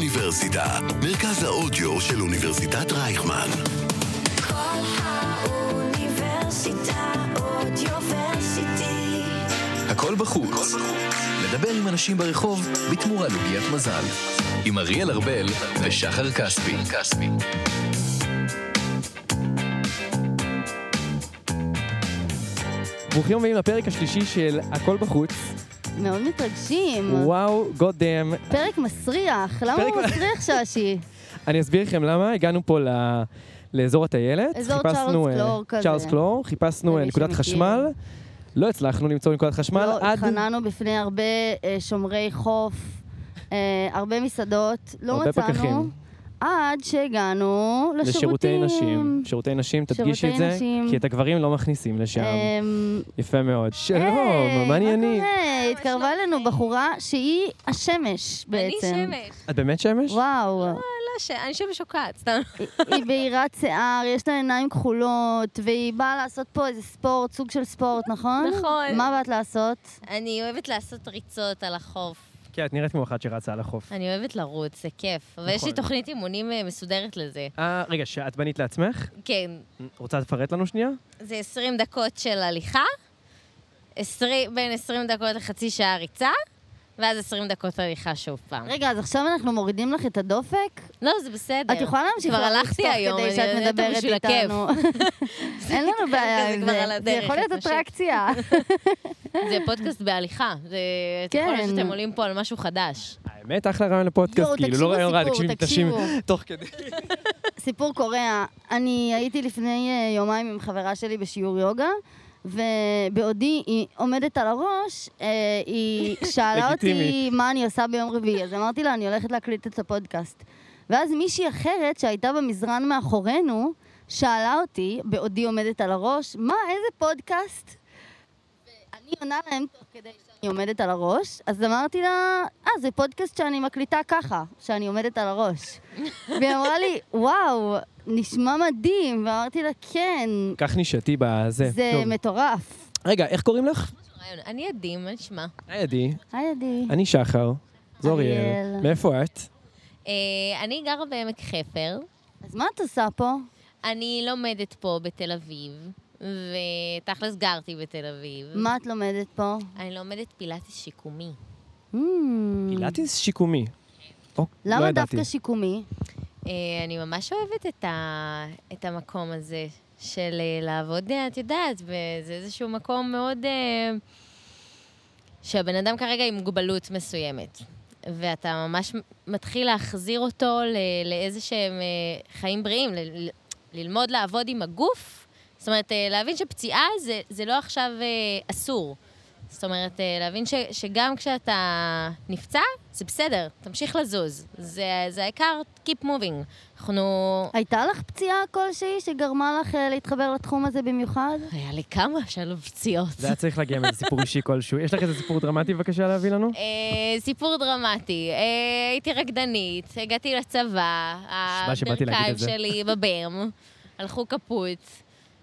האוניברסיטה, מרכז האודיו של אוניברסיטת רייכמן. כל האוניברסיטה אודיוורסיטי. הכל בחוץ. לדבר עם אנשים ברחוב בתמורה לעוגיית מזל. עם אריאל ארבל ושחר כספי. ברוכים הבאים לפרק השלישי של הכל בחוץ. מאוד מתרגשים. וואו, גוד דאם. פרק מסריח, למה פרק- הוא מסריח ששי? אני אסביר לכם למה, הגענו פה ל... לאזור הטיילת. אזור חיפשנו, צ'ארלס אה, קלור כזה. צ'ארלס קלור, חיפשנו אה, למי נקודת שמכיר. חשמל. לא הצלחנו למצוא נקודת חשמל לא, עד... התחננו בפני הרבה אה, שומרי חוף, אה, הרבה מסעדות, לא הרבה מצאנו. פקחים. עד שהגענו לשירותי לשירותים. נשים. שירותי נשים, תדגישי את שירותי זה, נשים. כי את הגברים לא מכניסים לשם. אמ, יפה היי, מאוד. שלום, מה העניינים? מה קורה? התקרבה אלינו בחורה שהיא השמש בעצם. אני שמש. את באמת שמש? וואו, לא ש... אני שמש שוקעת, סתם. היא בהירת שיער, יש לה עיניים כחולות, והיא באה לעשות פה איזה ספורט, סוג של ספורט, נכון? נכון. מה באת לעשות? אני אוהבת לעשות ריצות על החוף. כן, את נראית כמו אחת שרצה על החוף. אני אוהבת לרוץ, זה כיף. אבל יש לי נכון. תוכנית אימונים אה, מסודרת לזה. אה, רגע, שאת בנית לעצמך? כן, רוצה לפרט לנו שנייה? זה 20 דקות של הליכה, 20, בין 20 דקות לחצי שעה ריצה, ואז 20 דקות הליכה שוב פעם. רגע, אז עכשיו אנחנו מורידים לך את הדופק? לא, זה בסדר. את יכולה להמשיך כבר לרוץ הלכתי תוך היום, כדי אני שאת יודעת, אבל מדברת בשביל הכיף. איתנו. אין לנו בעיה כזה עם כבר על זה. זה הדרך, יכול להיות מתמשך. אטרקציה. זה פודקאסט בהליכה. זה... כן. יכול להיות שאתם עולים פה על משהו חדש. האמת, אחלה רעיון לפודקאסט, יואו, כאילו, תקשיבו לא רעיון רע, סיפור, תקשיב, תקשיבו. תקשיב, תוך כדי. סיפור קורע. אני הייתי לפני אה, יומיים עם חברה שלי בשיעור יוגה, ובעודי היא עומדת על הראש, אה, היא שאלה לגיטימי. אותי מה אני עושה ביום רביעי, אז אמרתי לה, אני הולכת להקליט את הפודקאסט. ואז מישהי אחרת שהייתה במזרן מאחורינו, שאלה אותי, בעודי עומדת על הראש, מה, איזה פודקאסט? ואני עונה להם תוך כדי שאני עומדת על הראש, אז אמרתי לה, אה, זה פודקאסט שאני מקליטה ככה, שאני עומדת על הראש. והיא אמרה לי, וואו, נשמע מדהים, ואמרתי לה, כן, כך נישתי בזה. זה כן, טוב. מטורף. רגע, איך קוראים לך? רעיון. אני עדים, מה נשמע? היי עדי, היי, עדי. אני שחר, זו אריאל. אריאל. Mm. מאיפה את? אה, אני גרה בעמק חפר. אז מה את עושה פה? אני לומדת פה בתל אביב, ותכלס גרתי בתל אביב. מה את לומדת פה? אני לומדת פילאטיס שיקומי. Hmm, פילאטיס שיקומי. או, לא למה ידעתי. דווקא שיקומי? אה, אני ממש אוהבת את, ה... את המקום הזה של אה, לעבוד, אה, את יודעת, זה איזשהו מקום מאוד... אה, שהבן אדם כרגע עם מוגבלות מסוימת. ואתה ממש מתחיל להחזיר אותו ל- לאיזה שהם אה, חיים בריאים, ל- ל- ללמוד לעבוד עם הגוף. זאת אומרת, אה, להבין שפציעה זה, זה לא עכשיו אה, אסור. זאת אומרת, אה, להבין ש, שגם כשאתה נפצע, זה בסדר, תמשיך לזוז. זה, זה העיקר, keep moving. אנחנו... הייתה לך פציעה כלשהי שגרמה לך אה, להתחבר לתחום הזה במיוחד? היה לי כמה של פציעות. זה היה צריך להגיע מאיזה סיפור אישי כלשהו. יש לך איזה סיפור דרמטי בבקשה להביא לנו? אה, סיפור דרמטי, אה, הייתי רקדנית, הגעתי לצבא, מה שבאתי להגיד את הברכיים זה. שלי בברם, הלכו קפוט,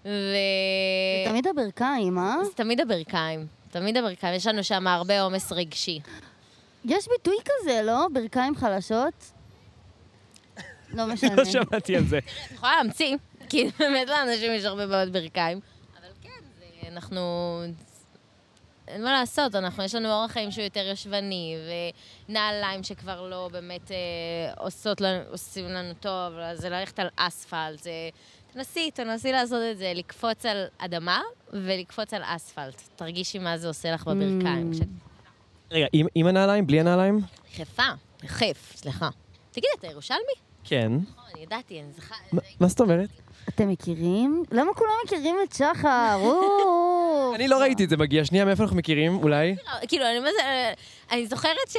ו... זה תמיד הברכיים, אה? זה תמיד הברכיים, תמיד הברכיים, יש לנו שם הרבה עומס רגשי. יש ביטוי כזה, לא? ברכיים חלשות? לא משנה. לא שמעתי על זה. את יכולה להמציא, כי באמת לאנשים יש הרבה בעיות ברכיים, אבל כן, זה, אנחנו... אין מה לעשות, אנחנו, יש לנו אורח חיים שהוא יותר יושבני, ונעליים שכבר לא באמת אה, עושות לנו, עושים לנו טוב, אז זה ללכת על אספלט, זה... תנסי, תנסי לעשות את זה, לקפוץ על אדמה ולקפוץ על אספלט. תרגישי מה זה עושה לך בברכיים. Mm. כשאת רגע, עם- עם הנעליים? בלי הנעליים? חיפה, חיף, סליחה. תגיד, אתה ירושלמי? כן. נכון, אני ידעתי, אני זכה... מה- מה זאת אומרת? אתם מכירים? למה כולם מכירים את שחר? אוף. אני לא ראיתי את זה מגיע. שנייה, מאיפה אנחנו מכירים? אולי? כאילו, אני מה זה... אני זוכרת ש...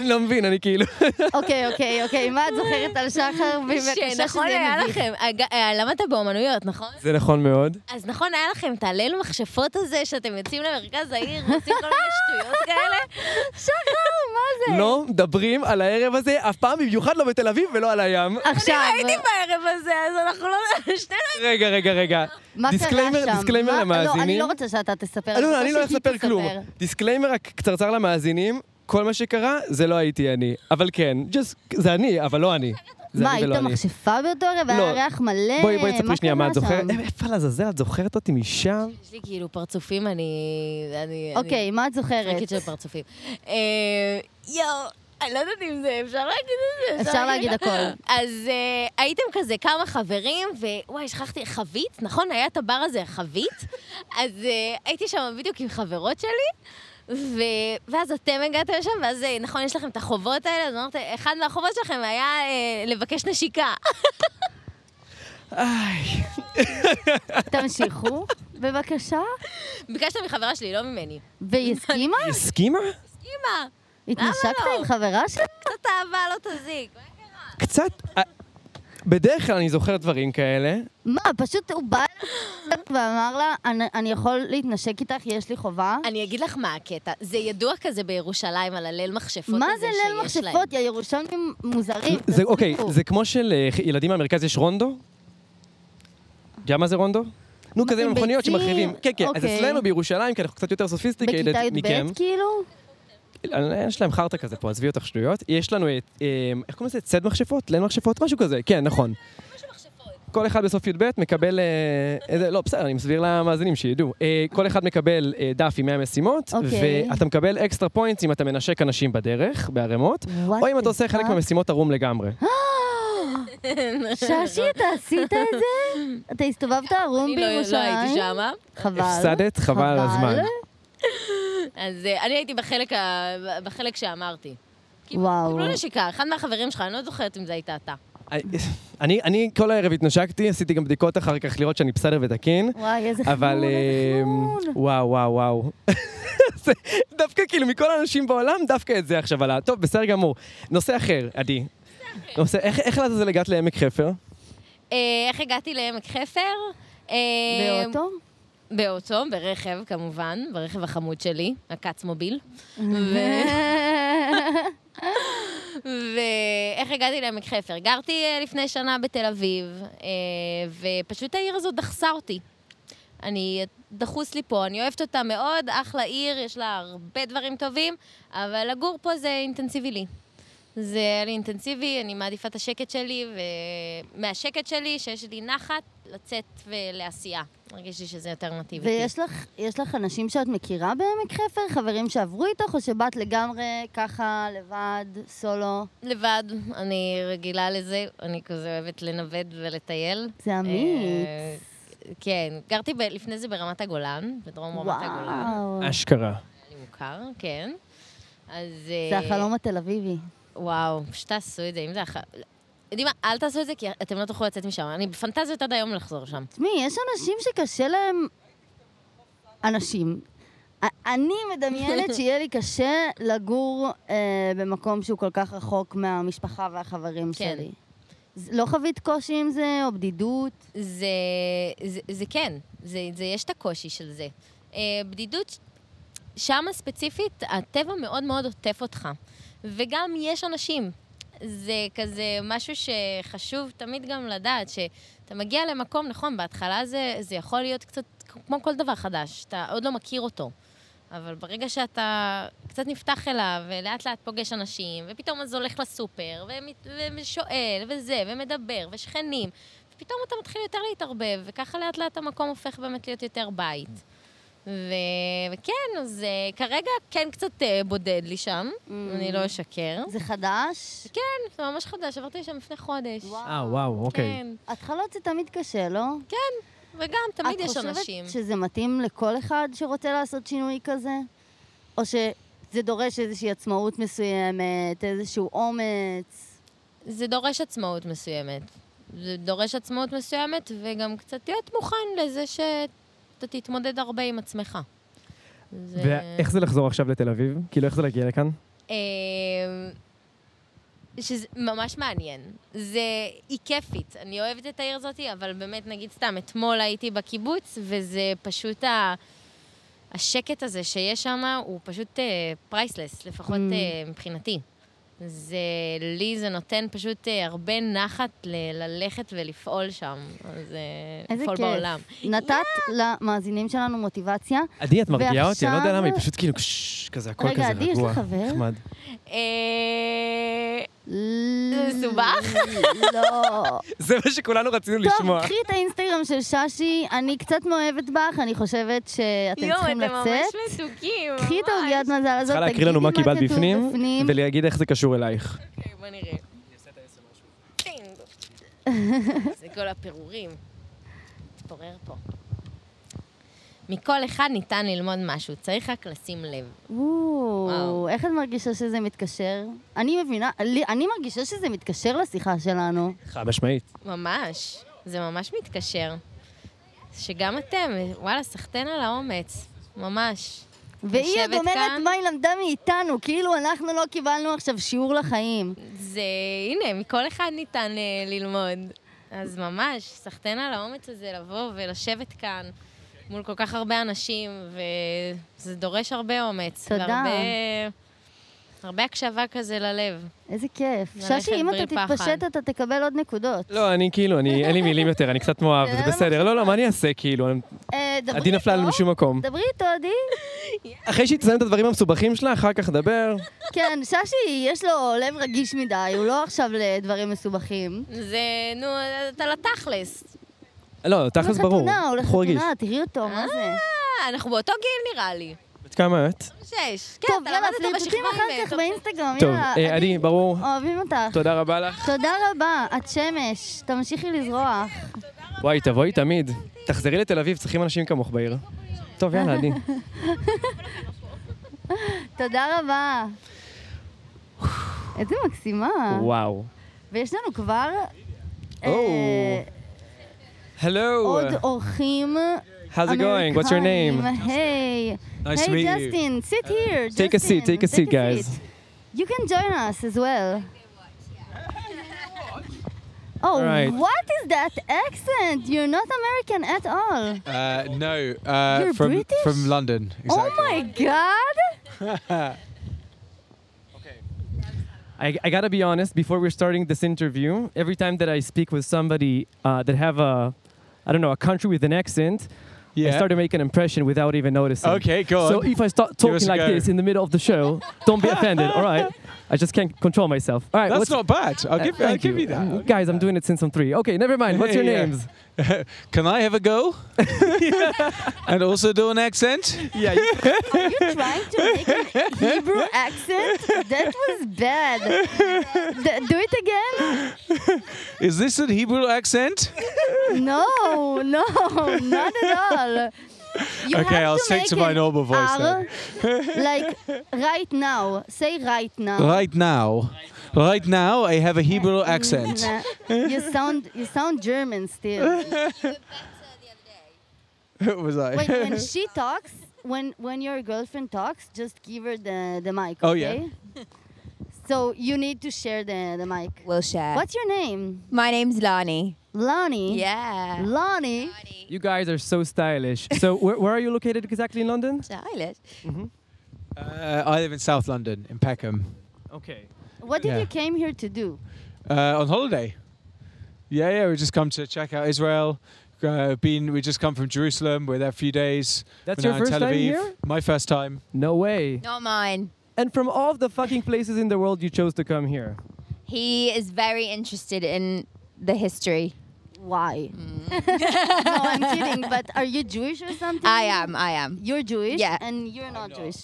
לא מבין, אני כאילו... אוקיי, אוקיי, אוקיי, מה את זוכרת על שחר? בבקשה שזה שנכון יהיה נכון, היה מביך. לכם, אג- אה, למדת באומנויות, נכון? זה נכון מאוד. אז נכון היה לכם את הליל מכשפות הזה, שאתם יוצאים למרכז העיר ועושים כל מיני שטויות כאלה? שחר, מה זה? לא מדברים על הערב הזה אף פעם, במיוחד לא בתל אביב ולא על הים. עכשיו, הייתי בערב הזה, אז אנחנו לא... שתי רגע, רגע, רגע. מה קרה שם? דיסקליימר, דיסקליימר מה- לא, אני למאזינים. לא רוצה שאתה תספר. אלון, רוצה אני לא הולך שהיא לספר תספר. כלום. דיסקליימר רק קצרצר למאזינים, כל מה שקרה, זה לא הייתי אני. אבל כן, just, זה אני, אבל לא אני. זה מה, אני היית ולא אני. מכשפה באותו ערב? לא. היה ריח מלא? בואי, בואי, תספרי שנייה מה את קרה זוכרת. שם? אה, איפה לעזאזל, את זוכרת אותי משם? יש לי כאילו פרצופים, אני... אני- אוקיי, מה את אני זוכרת? פרקית של פרצופים. אה, יואו, אני לא יודעת אם זה, אפשר להגיד את זה? אפשר להגיד הכל. אז אה, הייתם כזה כמה חברים, ווואי, שכחתי, חבית? נכון, היה את הבר הזה, חבית? אז אה, הייתי שם בדיוק עם חברות שלי. ו... ואז אתם הגעתם לשם, ואז אה, נכון, יש לכם את החובות האלה, אז אמרת, אחד מהחובות שלכם היה אה, לבקש נשיקה. תמשיכו, בבקשה. ביקשת מחברה שלי, לא ממני. והיא הסכימה? היא הסכימה? אמא, התנשקת לא? עם חברה שלך? קצת אהבה לא תזיק. קצת... אה, בדרך כלל אני זוכר דברים כאלה. מה, פשוט הוא בא אליי ואמר לה, "אני- אני יכול להתנשק איתך, יש לי חובה? אני אגיד לך מה הקטע, זה ידוע כזה בירושלים על הליל מכשפות מה הזה זה שיש ליל להם. מכשפות? יא ירושלמים מוזרים. זה אוקיי, תפסיקו. זה כמו שלילדים מהמרכז יש רונדו? אתה יודע מה זה רונדו? נו, מה, כזה עם עם מכוניות ביצים? שמחריבים. כן, כן, אז אוקיי. אצלנו בירושלים, כי אנחנו קצת יותר סופיסטיקטד בכיתה מכם. י"ב כאילו? אה, יש להם חרטא כזה פה, עזבי אותך שטויות. יש לנו את, אה, איך קוראים לזה? צד מכשפות? ליל מכשפות? משהו כזה, כן, נכון. כל אחד בסוף י"ב מקבל, אה, איזה- לא, בסדר, אני מסביר למאזינים שידעו. אה, כל אחד מקבל אה, דף עם 100 משימות, אוקיי. ואתה מקבל אקסטרה פוינטס אם אתה מנשק אנשים בדרך, בערימות, What או אם the אתה עושה חלק fuck? מהמשימות ערום לגמרי. אה, ששי, אתה עשית את זה? אתה הסתובבת ערום אני לא- לא הייתי בירושלים? שמה. חבל. הפסדת, חבל על הזמן. אז אה, אני הייתי בחלק ה- בחלק שאמרתי. קיבלו- וואו. קיבלו נשיקה, אחד מהחברים שלך, אני לא זוכרת אם זה הייתה אתה. אה, אני, אני כל הערב התנשקתי, עשיתי גם בדיקות אחר כך לראות שאני בסדר ותקין, וואי, איזה חמור, אבל... איזה אה, חמור. וואו, וואו, וואו. זה- דווקא כאילו מכל האנשים בעולם, דווקא את זה עכשיו עלה. טוב, בסדר גמור. נושא אחר, עדי. נושא, איך, איך לעזאזל הגעת לעמק חפר? אה, איך הגעתי לעמק חפר? אה, באוטו? באוטו, ברכב כמובן, ברכב החמוד שלי, הקץ מוביל. אה. ואיך הגעתי לעמק חפר? גרתי אה, לפני שנה בתל אביב, אה, ופשוט העיר הזאת דחסה אותי. אני, אה, דחוס לי פה, אני אוהבת אותה מאוד, אחלה עיר, יש לה הרבה דברים טובים, אבל לגור פה זה אינטנסיבי לי. זה היה לי אינטנסיבי, אני מעדיפה את השקט שלי, ומהשקט שלי, שיש לי נחת, לצאת ולעשייה. מרגיש לי שזה יותר נתיב איתי. ויש לך, יש לך אנשים שאת מכירה בעמק חפר? חברים שעברו איתך, או שבאת לגמרי ככה, לבד, סולו? לבד, אני רגילה לזה, אני כזה אוהבת לנווט ולטייל. זה אמיץ. אה, כן, גרתי ב- לפני זה ברמת הגולן, בדרום רמת הגולן. וואו. אשכרה. אה, היה לי מוכר, כן. אז... זה אה, החלום התל אביבי. לא. וואו, פשוט תעשו את זה, אם זה הח... יודעים מה, אל תעשו את זה, כי אתם לא תוכלו לצאת משם. אני בפנטזיות עד היום לחזור שם. תשמעי, יש אנשים שקשה להם... אנשים. א- אני מדמיינת שיהיה לי קשה לגור אה, במקום שהוא כל כך רחוק מהמשפחה והחברים כן. שלי. ז- לא חווית קושי עם זה, או בדידות? זה, זה, זה כן, זה, זה, יש את הקושי של זה. אה, בדידות, שם ספציפית, הטבע מאוד מאוד עוטף אותך. וגם יש אנשים. זה כזה משהו שחשוב תמיד גם לדעת, שאתה מגיע למקום, נכון, בהתחלה זה, זה יכול להיות קצת כמו כל דבר חדש, אתה עוד לא מכיר אותו. אבל ברגע שאתה קצת נפתח אליו, ולאט לאט פוגש אנשים, ופתאום אז הולך לסופר, ומת- ושואל, וזה, ומדבר, ושכנים, ופתאום אתה מתחיל יותר להתערבב, וככה לאט לאט המקום הופך באמת להיות יותר בית. ו... וכן, אז אה, כרגע כן קצת אה, בודד לי שם, Mm. אני לא אשקר. זה חדש? זה ממש חדש, עברתי לשם לפני חודש. אה, וואו, כן, התחלות זה תמיד קשה, לא? וגם כן, תמיד יש אנשים. את חושבת שזה מתאים לכל אחד שרוצה לעשות שינוי כזה? או שזה דורש איזושהי עצמאות מסוימת, איזשהו אומץ? זה דורש עצמאות מסוימת. זה דורש עצמאות מסוימת, וגם קצת להיות מוכן לזה שאתה תתמודד הרבה עם עצמך. זה... ואיך זה לחזור עכשיו לתל אביב? כאילו, איך זה להגיע לכאן? אמ, שזה ממש מעניין. זה, היא כיפית. אני אוהבת את העיר הזאת, אבל באמת, נגיד סתם, אתמול הייתי בקיבוץ, וזה פשוט ה... השקט הזה שיש שם הוא פשוט פרייסלס, אה, לפחות Mm. אה, מבחינתי. זה, לי זה נותן פשוט אה, הרבה נחת ל- ללכת ולפעול שם. אז אה, איזה לפעול כיף. בעולם. נתת למאזינים שלנו מוטיבציה. עדי, את מרגיעה אותי, ועכשיו- אני לא יודע למה, היא פשוט כאילו קש, כזה, הכל רגע, כזה עדי, יש רגוע. לך חבר? נחמד. אה, זה מסובך? לא. זה מה שכולנו רצינו לשמוע. טוב, קחי את האינסטגרם של ששי, אני קצת מאוהבת בך, אני חושבת שאתם יואו, צריכים אתם ממש לצאת. מתוקים. קחי את ממש. העוגיית מזל הזאת, צריכה להקריא תגידי לנו מה קיבלת כתוב בפנים, בפנים. ולהגיד איך זה קשור אלייך. אוקיי, בוא נראה. טינג. זה כל הפירורים. תתפורר פה. מכל אחד ניתן ללמוד משהו, צריך רק לשים לב. וואו, וואו. איך את מרגישה שזה מתקשר? אני מבינה, לי- אני מרגישה שזה מתקשר לשיחה שלנו. חד משמעית. ממש, זה ממש מתקשר. שגם אתם, וואלה, סחטיין על האומץ, ממש. והיא עוד יושבת אומרת כאן. מה היא למדה מאיתנו, כאילו אנחנו לא קיבלנו עכשיו שיעור לחיים. זה, הנה, מכל אחד ניתן אה, ללמוד. אז ממש, סחטיין על האומץ הזה לבוא ולשבת כאן מול כל כך הרבה אנשים, וזה דורש הרבה אומץ. תודה. והרבה, הרבה הקשבה כזה ללב. איזה כיף. ללכת ששי, אם אתה בלי פחד. תתפשט אתה תקבל עוד נקודות. לא, אני כאילו, אני, אין לי מילים יותר, אני קצת מואב, זה זה בסדר. לא, לא, מה אני אעשה, כאילו? אני- אה, דברי עדי נפלה איתו. לנו משום מקום. דברי איתו, עדי. אחרי שהיא תסיים את הדברים המסובכים שלה, אחר כך נדבר. כן, ששי, יש לו לב רגיש מדי, הוא לא עכשיו לדברים מסובכים. זה, נו, אתה לתכלס. לא, תכלס ברור. הוא הולך בחור רגיש. לחתונה, תראי אותו, מה זה? אה, אנחנו באותו גיל נראה לי. בת כמה את? שש. כן, טוב, אתה יאללה, למדת אותו פליטוטים בשכבה אה, אחר ממנו. כך באינסטגרם, טוב, יאללה. אה, עדי, ברור. אוהבים אותך. תודה רבה לך. תודה רבה, את שמש, תמשיכי לזרוח. וואי, תבואי תמיד. תחזרי לתל אביב, צריכים אנשים כמוך בעיר. טוב, יאללה, עדי. תודה רבה. איזה מקסימה. וואו. ויש לנו כבר... אה, או. אה. הלו. עוד אורחים How's it going? What's your name? אמריקאים. Hey. Nice hey, to meet you. Justin, sit here. Take a seat, Justin, take a seat, guys. seat. You can join us as well. Oh, Right. what is that accent? You're not American at all. Uh, no, uh, You're from British? from London. Exactly. Oh my god! I, I gotta be honest. Before we're starting this interview, every time that I speak with somebody uh, that have a, I don't know, a country with an accent, I Yeah. start to make an impression without even noticing. Okay, go So on. if I start Give us a talking like go. this in the middle of the show, don't be offended. all right, I just can't control myself. All right, That's what's, not bad. I'll uh, give, I'll thank give you Um, that. guys, I'm doing it since I'm three. Okay, never mind. What's your Yeah. names? Can I have a go? and also do an accent? Yeah, you, Are you trying to make a Hebrew accent? That was bad. D- do it again? Is this a Hebrew accent? No, no, not at all. You Okay, have I'll to stick make to my an normal voice R, like right now. Say right now. Right now. Right now, I have a Hebrew accent. Nah, you sound you sound German still. What was I? Wait, when she talks, when when your girlfriend talks, just give her the the mic. Oh, yeah. okay? So you need to share the the mic. We'll share. What's your name? My name's Lani. Lonnie. Yeah. Lonnie. you guys are so stylish. So where, where are you located exactly in London? Stylish. uh, I live in South London, in Peckham, Okay. What did Yeah. you came here to do? uh, on holiday. Yeah, yeah, we just come to check out Israel. Uh, been, we just come from Jerusalem. We're there a few days. That's We're your now in first Tel time Aviv. here? My first time. No way. Not mine. And from all of the fucking places in the world, you chose to come here. He is very interested in the history. Why? Mm. no, I'm kidding. But are you Jewish or something? I am. I am. You're Jewish. Yeah. And you're not Jewish.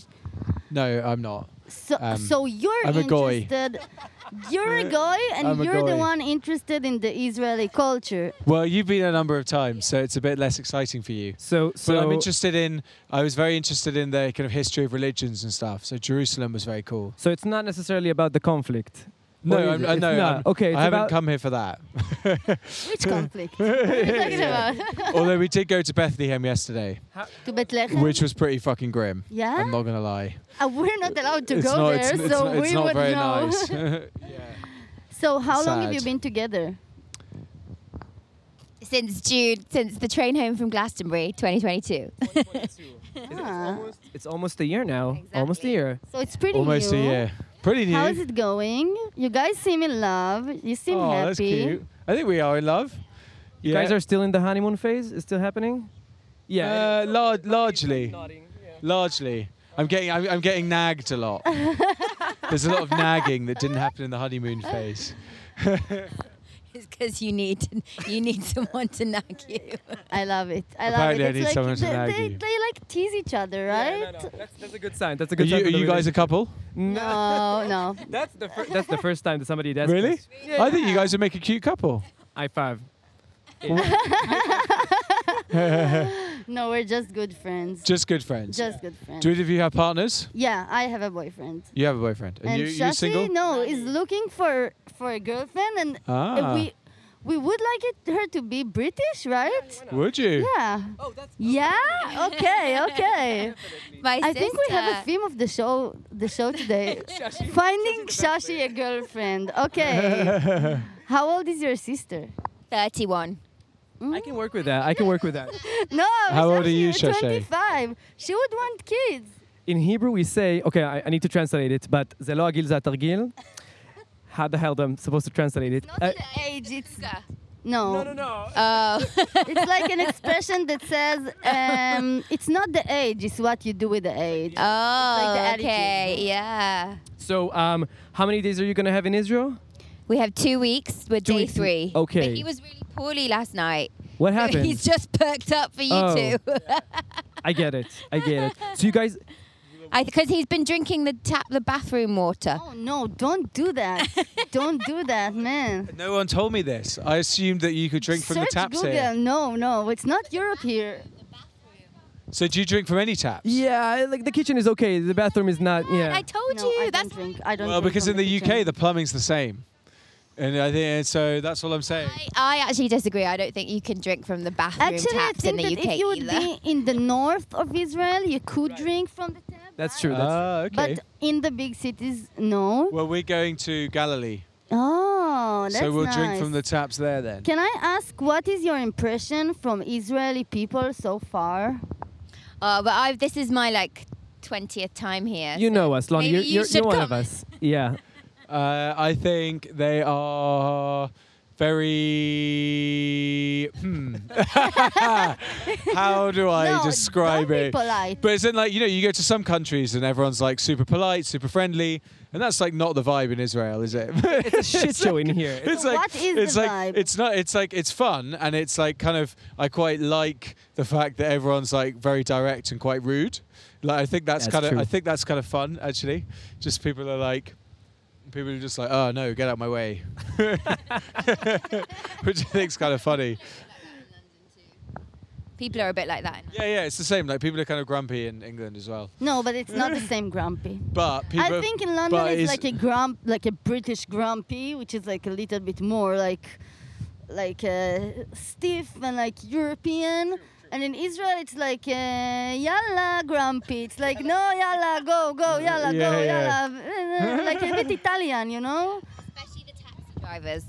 No, I'm not. So, Um, so you're I'm a goy. interested. You're a guy, and I'm a you're the goy. one interested in the Israeli culture. Well, you've been a number of times, so it's a bit less exciting for you. So, So so but I'm interested in. I was very interested in the kind of history of religions and stuff. So Jerusalem was very cool. So it's not necessarily about the conflict. No, Or is I'm, it? I It's no, not. I'm- okay, it's I haven't about- come here for that. Which conflict? what are you talking about? Although we did go to Bethlehem yesterday, to Bethlehem. which was pretty fucking grim. yeah, I'm not gonna lie. Uh, we're not allowed to it's go not. there, it's, it's so not, it's we not would very know. nice. yeah. so how long have you Sad. been together? Since June, since the train home from Glastonbury, 2022. Ah, It's almost a year now. Almost Exactly. a year. so it's pretty Almost a new. year. Pretty new. How's it going? You guys seem in love. You seem oh, happy. that's cute. I think we are in love. You guys are still in the honeymoon phase? It's still happening? Uh, lar- largely. Largely. I'm getting I'm, I'm getting nagged a lot. There's a lot of nagging that didn't happen in the honeymoon phase. It's because you need to, you need someone to knock you. I love it. I love it. Apparently I It's need like someone to they, nag they, you. they like tease each other, right? That's, that's a good sign. That's a Are good you, sign. are for the you guys a relationship. couple? No, no. That's the, fir- that's the first time that somebody does Really? this. I think you guys would make a cute couple. High five. No, we're just good friends. Just good friends. Just good friends. Do either of you have partners? yeah, I have a boyfriend. You have a boyfriend. And, And you, you Shashi, single? no, is looking for for a girlfriend and uh, Ah. we we would like it her to be British, right? Would you? Yeah. Oh, that's Yeah? Okay, okay. My I think we have a sister- theme of the show the show today. Finding Shashi a girlfriend. Okay. How old is your sister? 31. Mm. I can work with that. I can work with that. No, How old are Shashi, you, you're Shashi? 25. She would want kids. In Hebrew, we say, okay, I, I need to translate it, but זה לא הגיל, זה התרגיל. How the hell am I supposed to translate it? Uh, Age, it's no. no. Oh. It's like an expression that says um, it's not the age, it's what you do with the age. Oh, attitude. okay. Yeah. So, um, how many days are you going to have in Israel? We have two weeks. We're Two day weeks. three. Okay. But he was really poorly last night. What So happened? He's just perked up for you Oh. two. I get it. I get it. So you guys, Because he's been drinking the tap, the bathroom water. Oh no, don't do that. don't do that, man. No one told me this. I assumed that you could drink from Search the taps Google. here. No, no, it's not Europe here. So do you drink from any taps? yeah, like the kitchen is okay. The bathroom is not. And Yeah. I told No, you. I that's don't drink. I don't Well, drink because from in the UK kitchen. the plumbing's the same. And I think so that's all I'm saying. I, I actually disagree. I don't think you can drink from the bathroom Actually, I taps in think the that UK if you would either. be in the north of Israel, you could drink from the tap. That's right? true. Uh, That's Ah, okay. But in the big cities, no. well, we're going to Galilee. Oh, that's So we'll drink nice. from the taps there then. Can I ask what is your impression from Israeli people so far? oh, but I've, this is my like 20th time here. You know us, Maybe Lonnie. You're, you you're, should you're one of come. us. Yeah. Uh, I think they are very. Hmm. How do I No, describe don't be it? polite. But it's in like you know you go to some countries and everyone's like super polite, super friendly, and that's like not the vibe in Israel, is it? It's a shit show in here. it's So like what is it's the like vibe? it's not it's like it's fun and it's like kind of I quite like the fact that everyone's like very direct and quite rude. Like I think that's, That's kind of true. I think that's kind of fun actually. Just people are like people are just like oh no get out my way, which I think's kind of funny. People are a bit like that. in- Yeah yeah it's the same. Like people are kind of grumpy in England as well, No, but it's not the same grumpy. but people. I think in London but it's like a grump, like a British grumpy, which is like a little bit more like, like uh, stiff and like European. And in Israel it's like uh, yalla grumpy. It's like no yalla go go yalla Yeah, go yeah. yalla, like a bit Italian, you know. Especially the taxi drivers.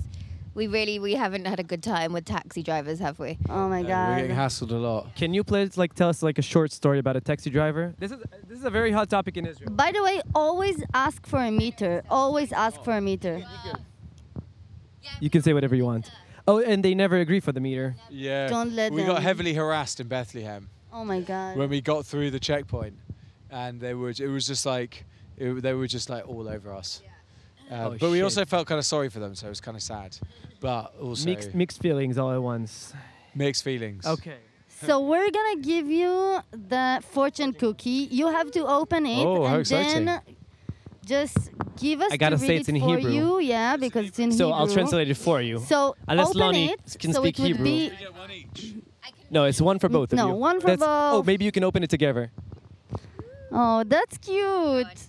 We really, we haven't had a good time with taxi drivers, have we? Oh my we're getting god. hassled a lot. Can you please like tell us like a short story about a taxi driver? This is this is a very hot topic in Israel. By the way, always ask for a meter. Always ask for a meter. You can say whatever you want. Oh, and they never agree for the meter. Yeah, Don't let we them. got heavily harassed in Bethlehem. Oh my god. when we got through the checkpoint, and they were it was just like it, they were just like all over us. Uh, Oh, but we shit. also felt kind of sorry for them, so it was kind of sad, but also Mixed mixed feelings all at once. mixed feelings. Okay. So we're gonna give you the fortune cookie. You have to open it Oh, how and then exciting. just give us. I gotta to say read it's it in for Hebrew. You, yeah, because it's in So Hebrew. I'll translate it for you. So Unless open Lonnie it, can so speak it would Hebrew. Be, No, it's one for both no, of you. one for Oh, both. maybe you can open it together. oh, that's cute.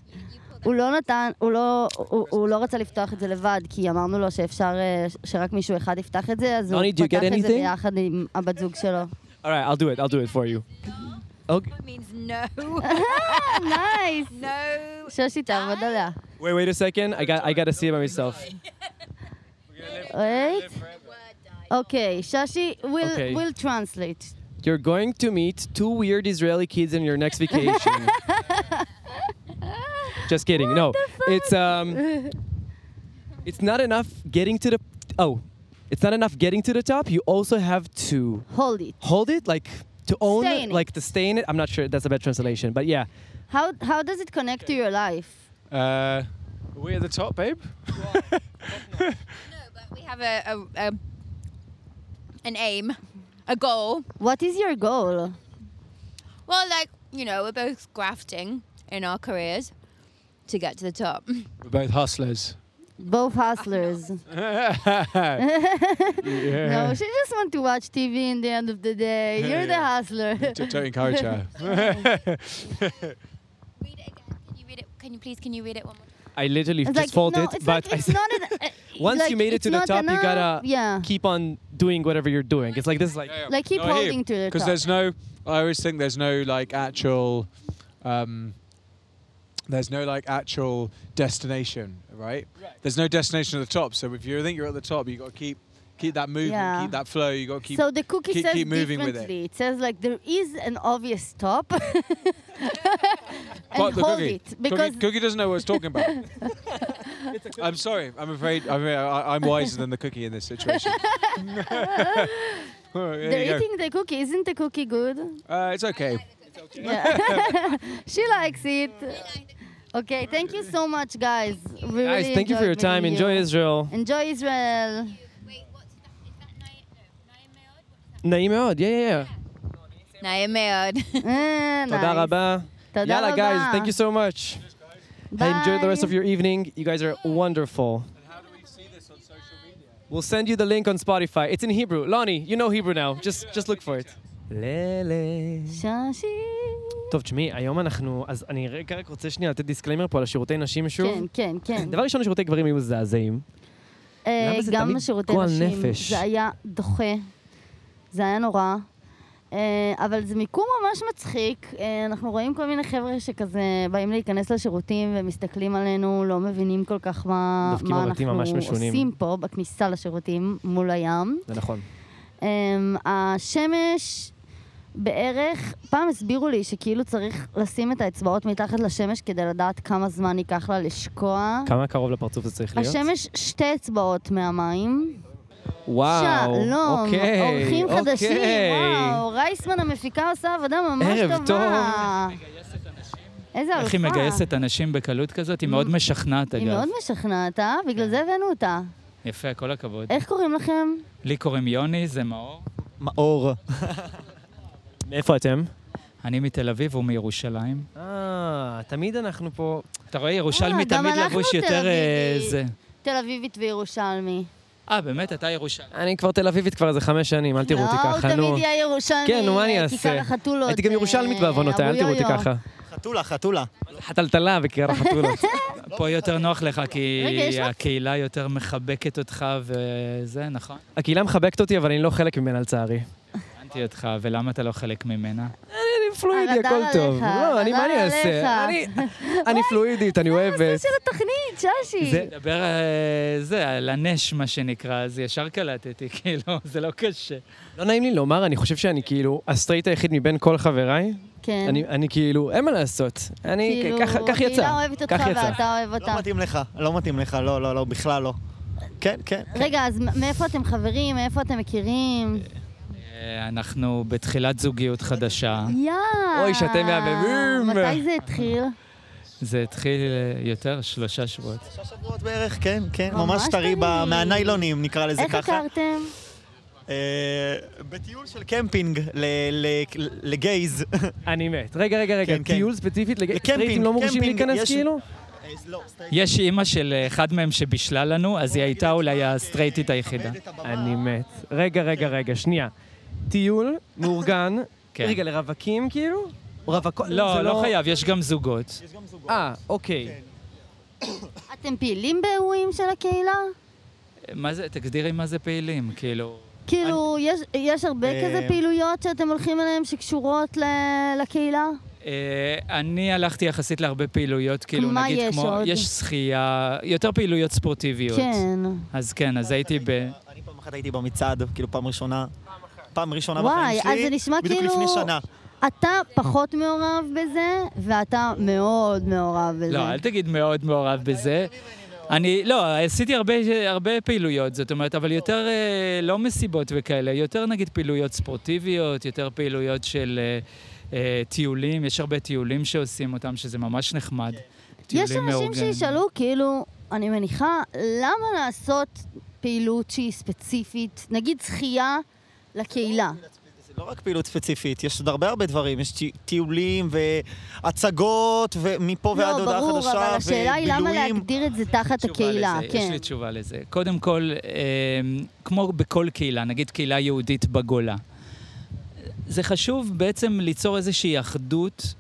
הוא לא נתן, הוא לא, הוא, הוא לא רצה לפתוח את זה לבד, כי אמרנו לו שאפשר, אה, ש- שרק מישהו אחד יפתח את זה, אז הוא Lonnie, do you פתח get את זה anything? ביחד עם הבת זוג שלו. All right, I'll do it. I'll do it for you. Okay. It means no. נייס! no. שושי, תעבוד עליה. Wait, wait a second. I got I got to see it by myself. Right? Okay, Shashi, we'll, Okay. we'll translate. You're going to meet two weird Israeli kids in your next vacation. Just kidding. no. it's um, it's not enough getting to the oh, it's not enough getting to the top. You also have to Hold it. hold it, like to own, Stay it, in it. like to stay in it. I'm not sure that's a bad translation, but yeah, How, how does it connect to your life? Uh, are we at the top, babe? No, but we have a, a, a an aim, a goal. What is your goal? Well, like you know, we're both grafting in our careers to get to the top. We're both hustlers. Both hustlers. yeah. No, she just want to watch TV in the end of the day. You're the hustler. D- Don't encourage her. read it again. Can you read it? Can you please? Can you read it one more? time? I literally It's just folded. no, it's but like, it's I, not an, uh, once like, you made it it's to the not top, you enough. gotta yeah. keep on doing whatever you're doing. It's like this, is like Like keep holding to the Because top. there's no, I always think there's no like actual, um, there's no like actual destination, right? There's no destination at the top. So if you think you're at the top, you got to keep keep that movement, Yeah. keep that flow. You got to keep. so the cookie keep- says keep moving with it. differently. it. says like there is an obvious top, and But hold it because cookie, cookie doesn't know what it's talking about. I'm sorry. I'm afraid. I'm, I- I'm wiser than the cookie in this situation. All right, there you they're go. eating the cookie. Isn't the cookie good? Uh, it's okay. Yeah. she likes it. Okay, thank you so much, guys. We guys. really Thank you for your enjoyed time. meeting Enjoy you. Israel. Enjoy Israel. Eh, Wait, what's that? Is that Naim? No, Naim Meod? What is נעים מאוד, yeah, yeah, yeah. that? Naim Meod. Eh, תודה nice. רבה. תודה Yalla, guys, רבה. thank you so much. Enjoy the rest Bye. of your evening. You guys are wonderful. We'll send you the link on Spotify. It's in Hebrew. Lonnie, you know Hebrew now. Just, just look for it. ללה. ששי. טוב, תשמעי, היום אנחנו... אז אני רגע רק רוצה שנייה לתת דיסקליימר פה על השירותי נשים שוב. כן, כן, כן. דבר ראשון, שירותי גברים היו מזעזעים. אה, למה זה גם תמיד שירותי גועל נשים. נפש? זה היה דוחה, זה היה נורא. אה, אבל זה מיקום ממש מצחיק. אה, אנחנו רואים כל מיני חבר'ה שכזה באים להיכנס לשירותים ומסתכלים עלינו, לא מבינים כל כך מה, דופקים מה בבתים אנחנו ממש משונים. עושים פה בכניסה לשירותים מול הים. זה נכון. Um, השמש בערך, פעם הסבירו לי שכאילו צריך לשים את האצבעות מתחת לשמש כדי לדעת כמה זמן ייקח לה לשקוע. כמה קרוב לפרצוף זה צריך להיות? השמש שתי אצבעות מהמים. וואו. שלום, אוקיי, אורחים חדשים, אוקיי. וואו, רייסמן המפיקה עושה עבודה ממש ערב טובה. טוב. איזה אלופה. איך היא מגייסת אנשים בקלות כזאת? Mm. היא מאוד משכנעת, היא אגב. מאוד משכנעת, אה? כן. בגלל זה הבאנו אותה. יפה, כל הכבוד. איך קוראים לכם? לי קוראים יוני, זה מאור. מאור. מאיפה אתם? אני מתל אביב, הוא מירושלים. אה, תמיד אנחנו פה... אתה רואה, ירושלמי אה, גם תמיד אנחנו לבוש תל יותר אה, אביבי. זה. תל אביבית וירושלמי. אה, באמת, אתה ירושלמי. אני כבר תל אביבית כבר איזה חמש שנים, אל תראו אותי לא, ככה, הוא נו. תמיד יהיה ירושלמי. כן, נו, מה אני אה, אעשה? כיכר החתולות. הייתי גם אה, ירושלמית בעוונותיי, אל אבו תראו אותי יויו. ככה. חתולה, חתולה. חתלתלה בקרב החתולות. פה יותר נוח לך, כי רגע, יש לך- הקהילה יותר מחבקת אותך וזה, נכון? הקהילה מחבקת אותי, אבל אני לא חלק ממנה לצערי. הבנתי אותך, ולמה אתה לא חלק ממנה? אני פלואידי, הרדאר הכל טוב. עליך, לא, אני, מה אני הרדאר אעשה? עליך. לא, אני- אני פלואידית, אני אוהבת. של התוכנית, ששי. דבר אה, זה, על הנש, מה שנקרא, אז ישר קלטתי, כאילו, זה לא קשה. לא נעים לי לומר, אני חושב שאני כאילו הסטרייט היחיד מבין כל חבריי. כן. אני אני כאילו, אין מה לעשות. אני, כאילו, ככה- כך יצא. הקהילה אוהבת אותך כך יצא. ואתה אוהב אותה. לא מתאים לך, לא מתאים לך, לא, לא, לא, בכלל לא. כן, כן. רגע, אז מ- מאיפה אתם חברים? מאיפה אתם מכירים? אה, אנחנו בתחילת זוגיות חדשה. יאה. אוי, שאתם מהממים. מתי זה התחיל? זה התחיל אה, יותר, שלושה שבועות. שלושה שבועות בערך, כן, כן. ממש ממש טרי ב- טרי. מהניילונים, נקרא לזה איך ככה. הכרתם? אה, בטיול של קמפינג ל- ל- לגייז. אני מת. רגע, רגע, רגע, כן, כן. טיול ספציפית, לג- לקמפינג, סטרייטים לא מורשים קמפינג, להיכנס יש- כאילו? אה, לא, סטרייט. יש אימא של אה, אחד מהם שבישלה לנו, אז היא הייתה אולי הסטרייטית היחידה. אה? אני מת. רגע, רגע, רגע, שנייה. טיול מאורגן, כן. רגע, לרווקים כאילו? רווקות? זה לא, לא חייב, יש גם זוגות. אה, אוקיי. אתם פעילים באירועים של הקהילה? מה זה, תגדירי מה זה פעילים, כאילו... כאילו, יש, יש הרבה אה, כזה פעילויות שאתם הולכים אליהן שקשורות ל- לקהילה? אה, אני הלכתי יחסית להרבה פעילויות, כאילו, מה נגיד יש כמו... עוד? יש שחייה, יותר פעילויות ספורטיביות. כן. אז כן, אז הייתי ב... אני פעם אחת הייתי במצעד, כאילו פעם ראשונה. פעם ראשונה וואי, בחיים שלי, אז זה נשמע בדיוק כאילו- לפני שנה. אתה פחות מעורב בזה, ואתה מאוד מעורב בזה. לא, אל תגיד מאוד מעורב בזה. אני, לא, עשיתי הרבה, הרבה פעילויות, זאת אומרת, אבל יותר אה, לא מסיבות וכאלה, יותר נגיד פעילויות ספורטיביות, יותר פעילויות של אה, אה, טיולים, יש הרבה טיולים שעושים אותם, שזה ממש נחמד. יש טיולים אנשים מאורגנים. שישאלו, כאילו, אני מניחה, למה לעשות פעילות שהיא ספציפית, נגיד שחייה לקהילה? זה לא רק פעילות ספציפית, יש עוד הרבה הרבה דברים, יש טי- טיולים והצגות, ומפה ועד לא, הודעה ברור, חדשה, אבל השאלה היא למה ובילויים. להגדיר את זה תחת תשובה הקהילה, לזה, יש כן. לי תשובה לזה. קודם כל, אה, כמו בכל קהילה, נגיד קהילה יהודית בגולה, זה חשוב בעצם ליצור איזושהי אחדות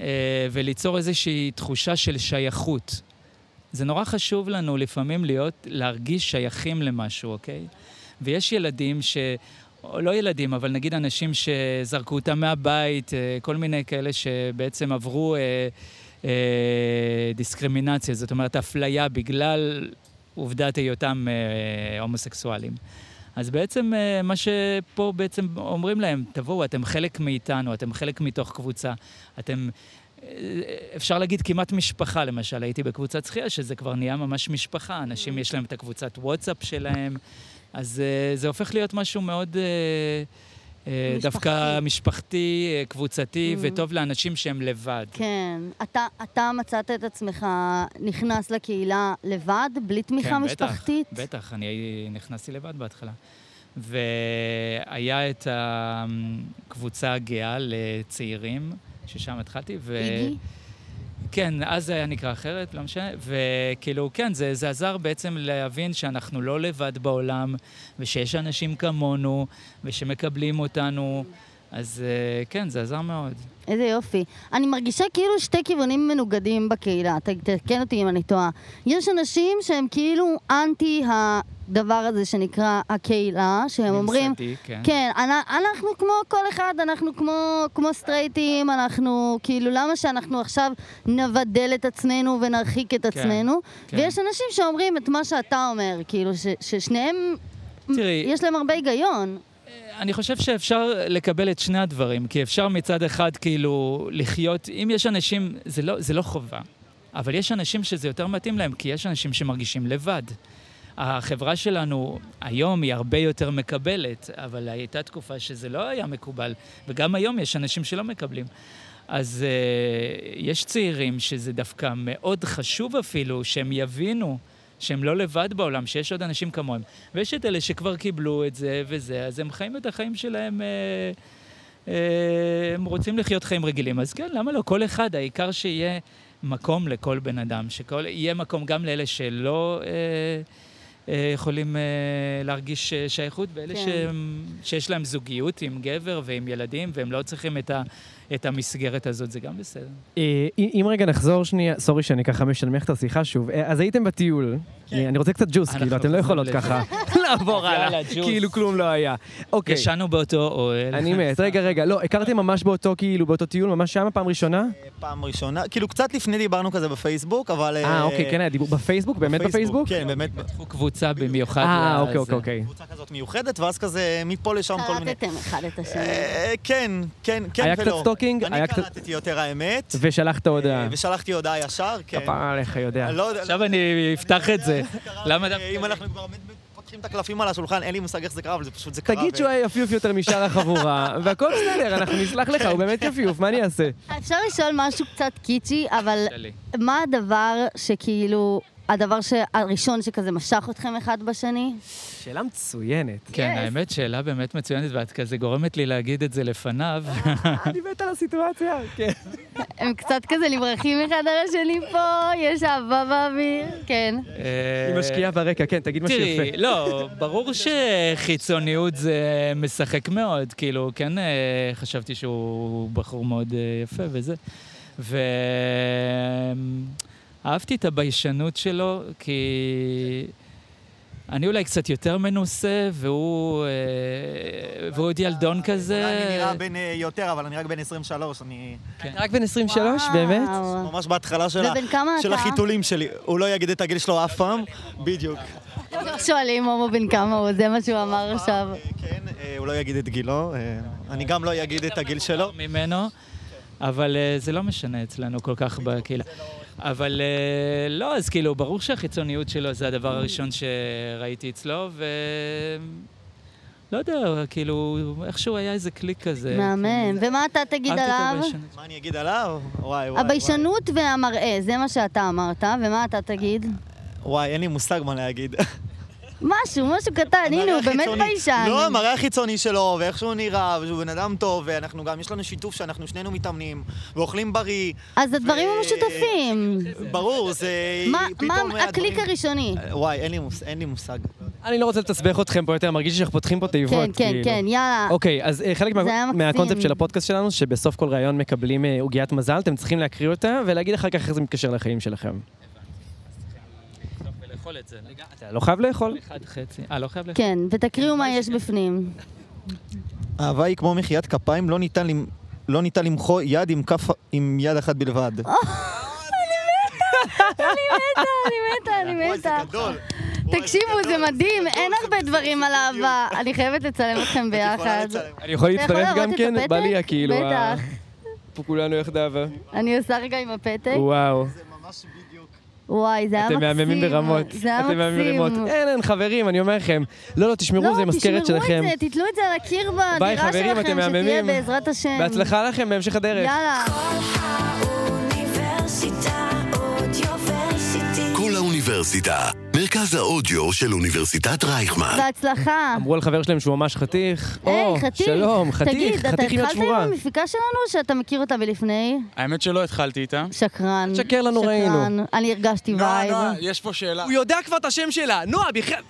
אה, וליצור איזושהי תחושה של שייכות. זה נורא חשוב לנו לפעמים להיות, להרגיש שייכים למשהו, אוקיי? ויש ילדים ש... או לא ילדים, אבל נגיד אנשים שזרקו אותם מהבית, אה, כל מיני כאלה שבעצם עברו אה, אה, דיסקרימינציה, זאת אומרת אפליה בגלל עובדת היותם אה, הומוסקסואלים. אז בעצם אה, מה שפה בעצם אומרים להם, תבואו, אתם חלק מאיתנו, אתם חלק מתוך קבוצה, אתם אה, אפשר להגיד כמעט משפחה, למשל, הייתי בקבוצת שחייה, שזה כבר נהיה ממש משפחה, אנשים יש להם את הקבוצת וואטסאפ שלהם, אז אה, זה הופך להיות משהו מאוד אה, אה, דווקא משפחתי, אה, קבוצתי, וטוב לאנשים שהם לבד. כן. אתה, אתה מצאת את עצמך נכנס לקהילה לבד, בלי תמיכה כן, משפחתית? בטח, בטח, אני הי- נכנסתי לבד בהתחלה. והיה את הקבוצה הגאה לצעירים, ששם התחלתי, ו... איגי? כן, אז זה היה נקרא אחרת, לא משנה. וכאילו, כן, זה, זה עזר בעצם להבין שאנחנו לא לבד בעולם, ושיש אנשים כמונו, ושמקבלים אותנו. אז אה, כן, זה עזר מאוד. איזה יופי. אני מרגישה כאילו שתי כיוונים מנוגדים בקהילה, ת- תקן אותי אם אני טועה. יש אנשים שהם כאילו אנטי הדבר הזה שנקרא הקהילה, שהם אומרים... ממסדי, כן. כן, אנ- אנחנו כמו כל אחד, אנחנו כמו, כמו סטרייטים, אנחנו כאילו, למה שאנחנו עכשיו נבדל את עצמנו ונרחיק את עצמנו? כן. ויש אנשים שאומרים את מה שאתה אומר, כאילו, ש, ששניהם, תראי, יש להם הרבה היגיון. אני חושב שאפשר לקבל את שני הדברים, כי אפשר מצד אחד כאילו לחיות, אם יש אנשים, זה לא, זה לא חובה, אבל יש אנשים שזה יותר מתאים להם, כי יש אנשים שמרגישים לבד. החברה שלנו היום היא הרבה יותר מקבלת, אבל הייתה תקופה שזה לא היה מקובל, וגם היום יש אנשים שלא מקבלים. אז uh, יש צעירים שזה דווקא מאוד חשוב אפילו שהם יבינו שהם לא לבד בעולם, שיש עוד אנשים כמוהם. ויש את אלה שכבר קיבלו את זה וזה, אז הם חיים את החיים שלהם, אה, אה, הם רוצים לחיות חיים רגילים. אז כן, למה לא? כל אחד, העיקר שיהיה מקום לכל בן אדם, שיהיה מקום גם לאלה שלא... אה, אה, יכולים אה, להרגיש אה, שייכות, ואלה כן. שהם, שיש להם זוגיות עם גבר ועם ילדים, והם לא צריכים את, ה, את המסגרת הזאת, זה גם בסדר. אה, אם אם רגע נחזור שנייה, סורי שאני ככה משנמך את השיחה שוב. אה, אז הייתם בטיול. אני אני רוצה קצת ג'וס, אנחנו כאילו, אתם לא חוזרים יכולות לזה. ככה לעבור יאללה, הלאה. ג'וס. כאילו כלום לא היה. אוקיי, ישנו באותו אוהל. אני מת. רגע, רגע, לא, הכרתם ממש באותו, כאילו, באותו טיול, ממש שם פעם ראשונה? פעם ראשונה, כאילו קצת לפני דיברנו כזה בפייסבוק, אבל... אה, אוקיי, כן היה דיבור. בפייסבוק? באמת בפייסבוק? כן, באמת. פתחו קבוצה במיוחד. אה, לזה. אוקיי, אוקיי, אוקיי. קבוצה כזאת מיוחדת, ואז כזה מפה לשם כל מיני... קלטתם אחד את השני. אה, כן, כן, כן ולא. היה קצת סטוקינג? היה אני קצת- קלטתי יותר האמת, אה, ושלחת הודעה. ושלחתי הודעה ישר, כן. כפרה עליך, יודע. אני לא יודע- עכשיו אני אפתח את זה. למה אה, דווקא... אם אנחנו כבר פותחים את הקלפים על השולחן, אין לי מושג איך זה קרה, אבל זה פשוט, זה קרה. תגיד ו- שהוא היה יפיוף יותר משאר החבורה, והכל בסדר, אנחנו נסלח לך, הוא באמת יפיוף, מה אני אעשה? אפשר לשאול משהו קצת קיצ'י, אבל שלי. מה הדבר שכאילו, הדבר ש- הראשון שכזה משך אתכם אחד בשני? שאלה מצוינת. כן, האמת, שאלה באמת מצוינת, ואת כזה גורמת לי להגיד את זה לפניו. אני מת על הסיטואציה. כן. הם קצת כזה נברחים אחד על השני פה, יש אהבה באוויר, כן. אה, היא משקיעה ברקע, כן, תגיד משהו תראי, יפה. לא, ברור שחיצוניות זה משחק מאוד, כאילו, כן אה, חשבתי שהוא בחור מאוד אה, יפה וזה. ואהבתי את הביישנות שלו, כי אני אולי קצת יותר מנוסה, והוא אה, והוא עוד ילדון כזה. אולי אה, אני נראה בן אה, יותר, אבל אני רק בן 23, אני כן. רק בן 23, וואו. באמת? ממש בהתחלה של ה- ובן כמה של אתה? החיתולים שלי. הוא לא יגיד את הגיל שלו אף פעם, בדיוק. שואלים הומו בן כמה הוא, זה מה שהוא אמר עכשיו. אה, כן, אה, הוא לא יגיד את גילו, אה, אני גם לא אגיד את הגיל שלו. ממנו, אבל אה, זה לא משנה אצלנו כל כך בקהילה. לא אבל אה, לא, אז כאילו, ברור שהחיצוניות שלו זה Mm. הדבר הראשון שראיתי אצלו, ו... לא יודע, כאילו, איכשהו היה איזה קליק כזה. כאילו, מהמם. ומה אתה תגיד כן, אל תתאבש, עליו? אני- מה אני אגיד עליו? וואי, וואי. הביישנות והמראה, זה מה שאתה אמרת, ומה אתה תגיד? וואי. וואי, אין לי מושג מה להגיד. משהו, משהו קטן, הנה, המראה הוא באמת החיצוני- ביישן. לא, המראה החיצוני שלו, ואיך שהוא נראה, ושהוא בן אדם טוב, ואנחנו גם, יש לנו שיתוף שאנחנו שנינו מתאמנים, ואוכלים בריא. אז הדברים ו- המשותפים. ברור, זה... מה- פתאום מה הקליק הדברים- הראשוני? וואי, אין לי מוס- אין לי מושג. לא יודע. אני לא רוצה לתסבך אתכם פה יותר, מרגיש לי שאנחנו פותחים פה תיבות. כן, כן, כאילו. כן, יאללה. אוקיי, אז אה, חלק מה- זה היה מקסים. מהקונספט של הפודקאסט שלנו, שבסוף כל ראיון מקבלים אה, עוגיית מזל, אתם צריכים להקריא אותה ולהגיד אחר כך איך זה מתקשר לחיים שלכם. ולאכול את זה. אתה לא חייב לאכול. אחד חצי. אה, לא חייב לאכול. כן, ותקריאו מה יש בפנים. אהבה היא כמו מחיית כפיים, לא ניתן למ- לא ניתן למחוא יד עם כף... עם יד אחת בלבד. אני מתה, אני וואי, זה מתה. גדול. תקשיבו, זה מדהים, אין הרבה דברים על אהבה. אני חייבת לצלם אתכם ביחד. אני יכול אתה יכול להצטרף להראות גם את כן? בא לי הפתק? כאילו... ה- בטח. פה כולנו יחדיו. אה? אני עושה רגע עם הפתק. וואו. זה ממש בדיוק. וואי, זה היה אתם מקסים. מהממים ברמות. זה היה אתם מהממים ברמות. מקסים. אין, אין, חברים, אני אומר לכם. לא, לא, תשמרו, זה מזכרת לא, שלכם. תשמרו את זה, תתלו את זה על הקיר ביי, בדירה חברים, שלכם, אתם שתהיה מהממים. בעזרת השם. בהצלחה לכם בהמשך הדרך. כן. יאללה. כל האוניברסיטה, מרכז האודיו של אוניברסיטת רייכמן. בהצלחה. אמרו על חבר שלהם שהוא ממש חתיך. היי, או, חתיך. שלום, תגיד, חתיך, אתה חתיך עם יד התחלת עם שבורה. המפיקה שלנו, או שאתה מכיר אותה מלפני? האמת שלא התחלתי איתה. שקרן. תשקר לנו, ראינו. שקרן. אני הרגשתי נועה, וייב. נועה, יש פה שאלה. הוא יודע כבר את השם שלה, נועה בכלל.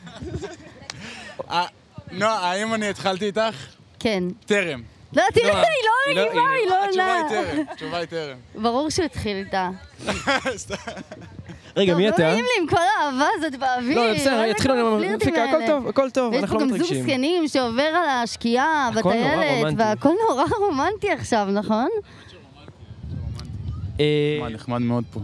אה, נועה, האם אני התחלתי איתך? כן. טרם. לא, תראה, נועה. היא לא היא לא- מגיבה, היא היא לא התשובה עונה. היא טרם. התשובה היא טרם. ברור שהוא התחיל איתה. רגע, טוב, מי לא אתה? נעים לי עם כל האהבה הזאת באוויר. לא, בסדר, מה זה יתחילו כל לנו הפלירטים מפיקה, הכל האלה? טוב, הכל טוב, ויש פה אנחנו לא גם זוג מתרגשים. זקנים שעובר על השקיעה הכל נורא בטיילת, רומנטי. והכל נורא רומנטי עכשיו, נכון? אה, נחמד, אוקיי, נחמד מאוד פה.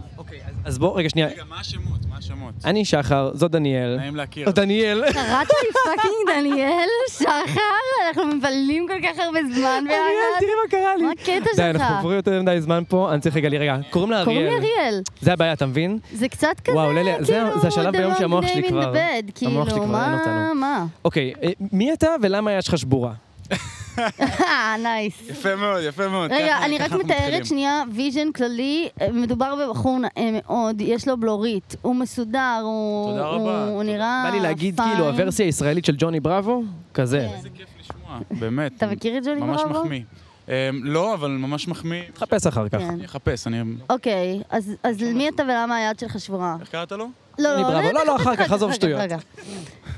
אז בוא, רגע, שנייה. רגע, מה השמות? מה השמות? אני שחר, זו דניאל. נעים להכיר. זו דניאל. קראת לי פאקינג דניאל שחר? אנחנו מבלים כל כך הרבה זמן אריאל, ביחד. תראי מה קרה לי. מה הקטע די, שלך? אנחנו עוברים יותר מדי זמן פה, אני צריך רגע, לי- רגע, קוראים לה קוראים לי אריאל. אריאל. זה הבעיה, אתה מבין? זה קצת כזה, וואו, ללי, זה- כאילו, זה השלב the ביום wrong שהמוח name שלי in the כבר- bed, המוח שלי כאילו, כבר אין אותנו. מה, אוקיי, אה, מי אתה ולמה היד שלך שבורה? אה, מה? נייס. יפה מאוד, יפה מאוד. אה, רגע, ככה- אני ככה רק אנחנו מתחילים. מתארת שנייה ויז'ן כללי. אה, מדובר בבחור נאה מאוד, יש לו בלורית, הוא מסודר, הוא תודה הוא- רבה. הוא נראה בא לי להגיד פיין. כאילו הוורסיה הישראלית של ג'וני בראבו? כזה. כן. איזה כיף לשמוע, באמת. אתה מכיר את ג'וני ממש בראבו? מחמיא. אמ, לא, אבל ממש מחמיא. תחפש אחר כך. כן. אני אחפש, אני... אוקיי, אז אז למי אתה ולמה היד שלך שבורה? איך קראת לו? לא, אני בראבו. לא, לא, תכף, אחר כך, תכף, עזוב אחר שטויות. אחר כך.